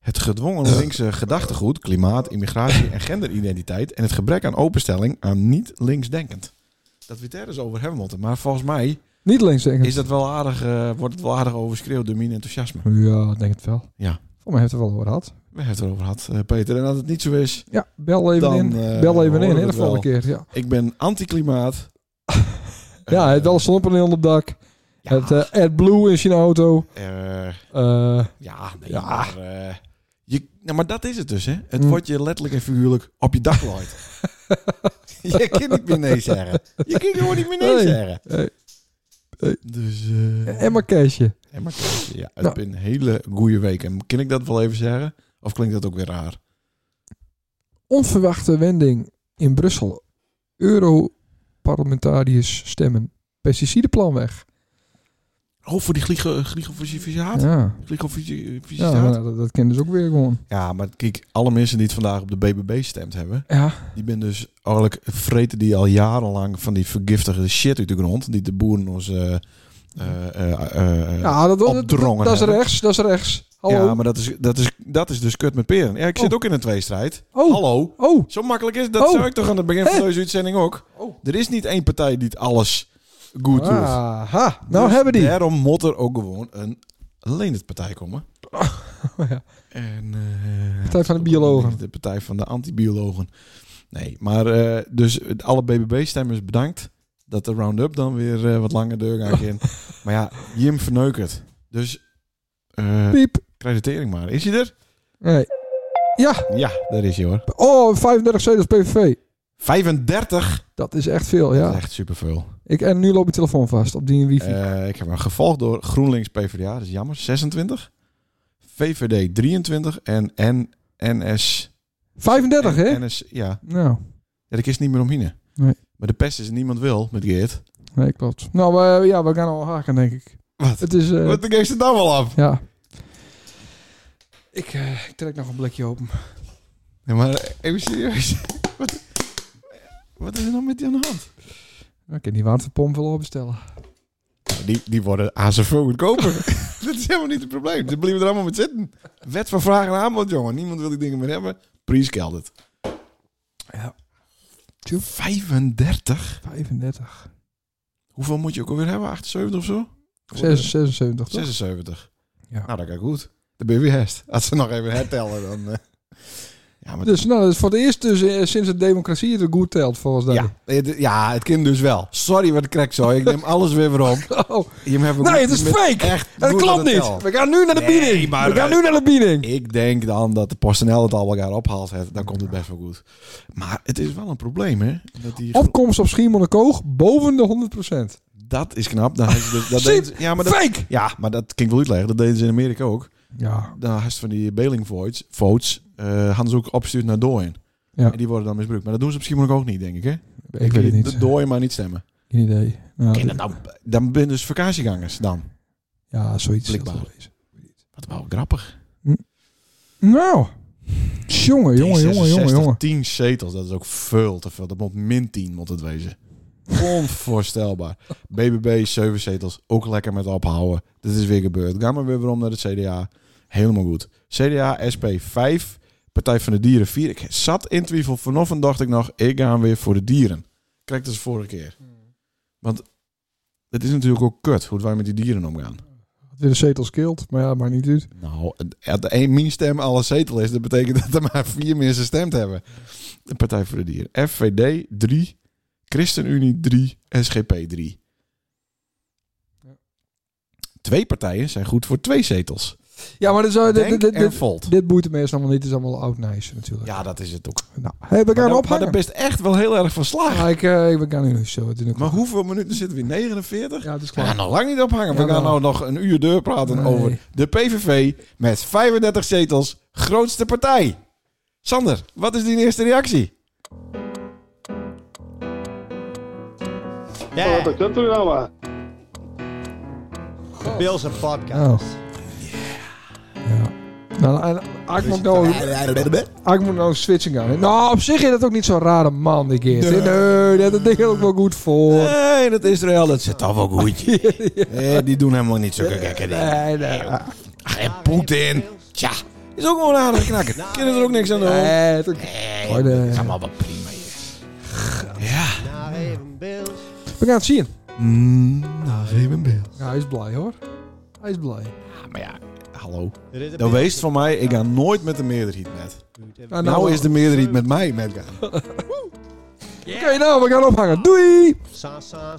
[SPEAKER 1] het
[SPEAKER 3] <coughs>
[SPEAKER 1] gedwongen linkse gedachtegoed, klimaat, immigratie en genderidentiteit en het gebrek aan openstelling aan niet linksdenkend. Dat we het ergens over hebben moeten, maar volgens mij
[SPEAKER 3] Niet links denken.
[SPEAKER 1] is dat wel aardig, eh, wordt het wel aardig overschreeuwd door mijn enthousiasme.
[SPEAKER 3] Ja, ik denk het wel.
[SPEAKER 1] Ja.
[SPEAKER 3] Voor mij heeft het wel over gehad.
[SPEAKER 1] We hebben het erover gehad, eh, Peter. En als het niet zo is,
[SPEAKER 3] Ja, bel even
[SPEAKER 1] Dan,
[SPEAKER 3] in.
[SPEAKER 1] eh,
[SPEAKER 3] bel
[SPEAKER 1] horen
[SPEAKER 3] even in,
[SPEAKER 1] we
[SPEAKER 3] hè, de
[SPEAKER 1] het
[SPEAKER 3] volgende keer. Ja,
[SPEAKER 1] ik ben anti-klimaat.
[SPEAKER 3] <laughs> ja hij
[SPEAKER 1] Eh,
[SPEAKER 3] heeft wel een zonnepaneel op het dak.
[SPEAKER 1] ja,
[SPEAKER 3] Het eh AdBlue in zijn auto.
[SPEAKER 1] eh,
[SPEAKER 3] Eh,
[SPEAKER 1] ja, nee,
[SPEAKER 3] Ja.
[SPEAKER 1] maar... eh, je, nou, maar dat is het dus, hè? Het
[SPEAKER 3] Hm.
[SPEAKER 1] wordt je letterlijk en figuurlijk op je dak <laughs> looid. je kunt niet meer nee zeggen. Je kunt gewoon niet meer nee,
[SPEAKER 3] Nee.
[SPEAKER 1] zeggen.
[SPEAKER 3] hey,
[SPEAKER 1] Dus... eh,
[SPEAKER 3] en maar cashje.
[SPEAKER 1] En maar ja, het
[SPEAKER 3] Nou.
[SPEAKER 1] ben een hele goede week. En kan ik dat wel even zeggen? Of klinkt dat ook weer raar?
[SPEAKER 3] Onverwachte wending in Brussel. Europarlementariërs stemmen. Pesticidenplan weg.
[SPEAKER 1] Oh, voor die glycofysiciaat?
[SPEAKER 3] Ja, ja maar
[SPEAKER 1] Glycofysiciaat?
[SPEAKER 3] dat, dat ken dus ook weer gewoon.
[SPEAKER 1] Ja, maar kijk, alle mensen die het vandaag op de BBB stemd hebben...
[SPEAKER 3] Ja,
[SPEAKER 1] die ben dus eigenlijk vreten die al jarenlang van die vergiftige shit uit de grond... die de boeren ons... eh, eh, eh, eh,
[SPEAKER 3] ja dat, dat, dat,
[SPEAKER 1] opdrongen
[SPEAKER 3] dat is
[SPEAKER 1] hebben.
[SPEAKER 3] rechts. Dat is rechts. Hallo.
[SPEAKER 1] ja, maar dat is, dat, is, dat is dus kut met peren. Ja, ik zit
[SPEAKER 3] Oh.
[SPEAKER 1] ook in een tweestrijd.
[SPEAKER 3] oh,
[SPEAKER 1] Hallo?
[SPEAKER 3] oh,
[SPEAKER 1] Zo makkelijk is dat,
[SPEAKER 3] Oh.
[SPEAKER 1] zou ik toch aan het begin van
[SPEAKER 3] Hè? Oh.
[SPEAKER 1] deze uitzending ook. Er is niet één partij die het alles goed doet.
[SPEAKER 3] aha. Ah. Nou
[SPEAKER 1] Dus
[SPEAKER 3] hebben die.
[SPEAKER 1] Daarom moet er ook gewoon een Leendert-partij komen.
[SPEAKER 3] <laughs> ja.
[SPEAKER 1] En, eh,
[SPEAKER 3] Partij van de biologen.
[SPEAKER 1] De partij van de antibiologen. Nee, maar eh, dus alle BBB-stemmers bedankt. Dat de round-up dan weer eh, wat langer deur gaat
[SPEAKER 3] <laughs>
[SPEAKER 1] in. maar ja, Jim verneukert. Dus eh
[SPEAKER 3] Piep.
[SPEAKER 1] creditering maar. Is hij er?
[SPEAKER 3] Nee. Ja,
[SPEAKER 1] Ja, daar is hij hoor.
[SPEAKER 3] oh, 35 zetels PVV.
[SPEAKER 1] 35?
[SPEAKER 3] Dat is echt veel,
[SPEAKER 1] Dat is
[SPEAKER 3] Oh ja.
[SPEAKER 1] echt superveel.
[SPEAKER 3] Ik, en nu loopt mijn telefoon vast op die wifi.
[SPEAKER 1] Eh, ik heb hem gevolgd door GroenLinks PvdA, dat is jammer, 26. VVD 23 en N NS...
[SPEAKER 3] 35, hè?
[SPEAKER 1] N- NS, ja.
[SPEAKER 3] nou,
[SPEAKER 1] ja, daar is niet meer omheen.
[SPEAKER 3] Nee.
[SPEAKER 1] Maar de pest is niemand wil met Geert.
[SPEAKER 3] nee, klopt. Nou, we- ja, we gaan al haken, denk ik.
[SPEAKER 1] Wat?
[SPEAKER 3] Het is, eh,
[SPEAKER 1] Wat de geest het dan wel af?
[SPEAKER 3] ja. Ik, eh, ik trek nog een blikje open.
[SPEAKER 1] Ja, maar even serieus. <laughs> Wat, wat is er nou met die aan de hand?
[SPEAKER 3] Ik kan die waterpomp wel opbestellen.
[SPEAKER 1] Die, die worden aan zijn veel goedkoper. <laughs> dat is helemaal niet het probleem. Ze blijven er allemaal met zitten. Wet van vraag en aanbod, jongen. Niemand wil die dingen meer hebben. Prijs geldt het.
[SPEAKER 3] Ja.
[SPEAKER 1] 35?
[SPEAKER 3] 35.
[SPEAKER 1] Hoeveel moet je ook alweer hebben? 78 of zo?
[SPEAKER 3] 76, 76 toch?
[SPEAKER 1] 76.
[SPEAKER 3] Ja.
[SPEAKER 1] Nou, dat gaat goed. Dan ben je weer herst. Als ze nog even hertellen, dan... eh. Ja, maar
[SPEAKER 3] Dus nou, dat is voor het eerst dus, eh, sinds de democratie het er goed telt, volgens mij.
[SPEAKER 1] Ja, het, ja, het kind dus wel. Sorry wat ik krek zo. Ik neem alles weer
[SPEAKER 3] <laughs>
[SPEAKER 1] weer om.
[SPEAKER 3] Oh,
[SPEAKER 1] Je hebt ook
[SPEAKER 3] nee, <laughs> het is
[SPEAKER 1] met-
[SPEAKER 3] fake!
[SPEAKER 1] Echt
[SPEAKER 3] Dat
[SPEAKER 1] goed
[SPEAKER 3] klopt
[SPEAKER 1] het
[SPEAKER 3] niet!
[SPEAKER 1] telt.
[SPEAKER 3] We gaan nu naar de
[SPEAKER 1] Nee,
[SPEAKER 3] bieding!
[SPEAKER 1] maar,
[SPEAKER 3] We gaan
[SPEAKER 1] eh,
[SPEAKER 3] nu naar de bieding!
[SPEAKER 1] Ik denk dan dat de PostNL het al elkaar ophaalt. hè. Dan komt het best wel goed. Maar het is wel een probleem, hè? Dat, die
[SPEAKER 3] Opkomst op Schiermonnikoog boven de 100%.
[SPEAKER 1] dat is knap. Dan hebben ze dus-
[SPEAKER 3] <laughs>
[SPEAKER 1] dat
[SPEAKER 3] Zie-
[SPEAKER 1] deden ze- ja, maar dat,
[SPEAKER 3] Fake!
[SPEAKER 1] ja, maar dat kan ik wel uitleggen. Dat deden ze in Amerika ook.
[SPEAKER 3] Ja,
[SPEAKER 1] Dan had ze van die bailing votes, votes eh, hadden ze ook opgestuurd naar dooien.
[SPEAKER 3] Ja.
[SPEAKER 1] En die worden dan misbruikt. Maar dat doen ze op misschien ook niet, denk ik, hè?
[SPEAKER 3] ik weet het niet.
[SPEAKER 1] De dooien maar niet stemmen.
[SPEAKER 3] Geen idee. Nou,
[SPEAKER 1] Oké, dan, dan, dan ben je dus vakantiegangers dan.
[SPEAKER 3] ja, zoiets. zal het
[SPEAKER 1] Blikbaar.
[SPEAKER 3] wel wezen.
[SPEAKER 1] Wat wel grappig.
[SPEAKER 3] Nou. Jongen, jongen, jongen, jongen,
[SPEAKER 1] 66,
[SPEAKER 3] jongen.
[SPEAKER 1] 10 zetels, dat is ook veel te veel. Dat moet min 10 moet het wezen. Onvoorstelbaar. BBB, 7 zetels, ook lekker met ophouden. Dit is weer gebeurd. Ga maar weer weer om naar het CDA. Helemaal goed. CDA, SP, 5. Partij van de Dieren, 4. Ik zat in twijfel. Vanochtend dacht ik nog, ik ga weer voor de dieren. Kijk, dat is de vorige keer. Want het is natuurlijk ook kut hoe wij met die dieren omgaan.
[SPEAKER 3] Het weer de zetels kilt, maar ja, maar niet uit.
[SPEAKER 1] Nou, als de één min stem alle zetel is, dat betekent <laughs> dat er maar vier mensen gestemd hebben. De Partij voor de Dieren. FVD 3, ChristenUnie 3, SGP 3. Twee partijen zijn goed voor twee zetels.
[SPEAKER 3] Ja, maar dat zou, dit,
[SPEAKER 1] Denk
[SPEAKER 3] dit, dit,
[SPEAKER 1] en
[SPEAKER 3] dit,
[SPEAKER 1] Volt.
[SPEAKER 3] dit boeit de mensen allemaal niet. Het is allemaal oud nice natuurlijk.
[SPEAKER 1] Ja, dat is het ook.
[SPEAKER 3] Nou, hey, we
[SPEAKER 1] Maar daar-
[SPEAKER 3] gaan
[SPEAKER 1] maar daar
[SPEAKER 3] ophangen.
[SPEAKER 1] best echt wel heel erg van slagen.
[SPEAKER 3] Ja, ik, eh, we gaan nu zo. Het is nu
[SPEAKER 1] Maar hoeveel minuten zitten we? 49?
[SPEAKER 3] Ja, het is
[SPEAKER 1] We
[SPEAKER 3] klaar.
[SPEAKER 1] gaan nog lang niet ophangen. We
[SPEAKER 3] Ja,
[SPEAKER 1] gaan
[SPEAKER 3] maar-
[SPEAKER 1] nou nog een uur deur praten
[SPEAKER 3] Nee.
[SPEAKER 1] over de PVV met 35 zetels, grootste partij. Sander, wat is die eerste reactie?
[SPEAKER 5] Ja, dat komt er nou maar.
[SPEAKER 2] De Beelse
[SPEAKER 3] Oh.
[SPEAKER 2] podcast.
[SPEAKER 3] Nou, en Ak moet nou, Ak moet nou switchen gaan. Nou, op zich is dat ook niet zo'n rare man, die Geert. Nee, dat dat ding ook wel goed voor.
[SPEAKER 1] Nee, dat Israël, dat zit toch wel <laughs> goed. Eh, die doen helemaal niet zulke gekke dingen.
[SPEAKER 3] Nee, nee.
[SPEAKER 1] Ach, en Poetin. Tja, is ook gewoon een aardige knakker. Kunnen er ook niks aan doen.
[SPEAKER 3] Nee, dat-
[SPEAKER 1] Nee,
[SPEAKER 3] Hoor de-
[SPEAKER 1] dat is allemaal wel prima. joh. Ja.
[SPEAKER 2] Naar Nou, even Beels.
[SPEAKER 3] We gaan het zien.
[SPEAKER 1] nou, even beeld.
[SPEAKER 3] Ja, hij is blij hoor. Hij is blij. Nou,
[SPEAKER 1] Maar ja, hallo.
[SPEAKER 2] Er is
[SPEAKER 1] Dan
[SPEAKER 2] een Beels.
[SPEAKER 1] Nou, wees van mij, ik ga nooit met de meerderheid met.
[SPEAKER 3] Nou,
[SPEAKER 1] Nou is de meerderheid met mij met gaan.
[SPEAKER 3] Oké, nou, we gaan ophangen. Doei!
[SPEAKER 2] Sa, sa,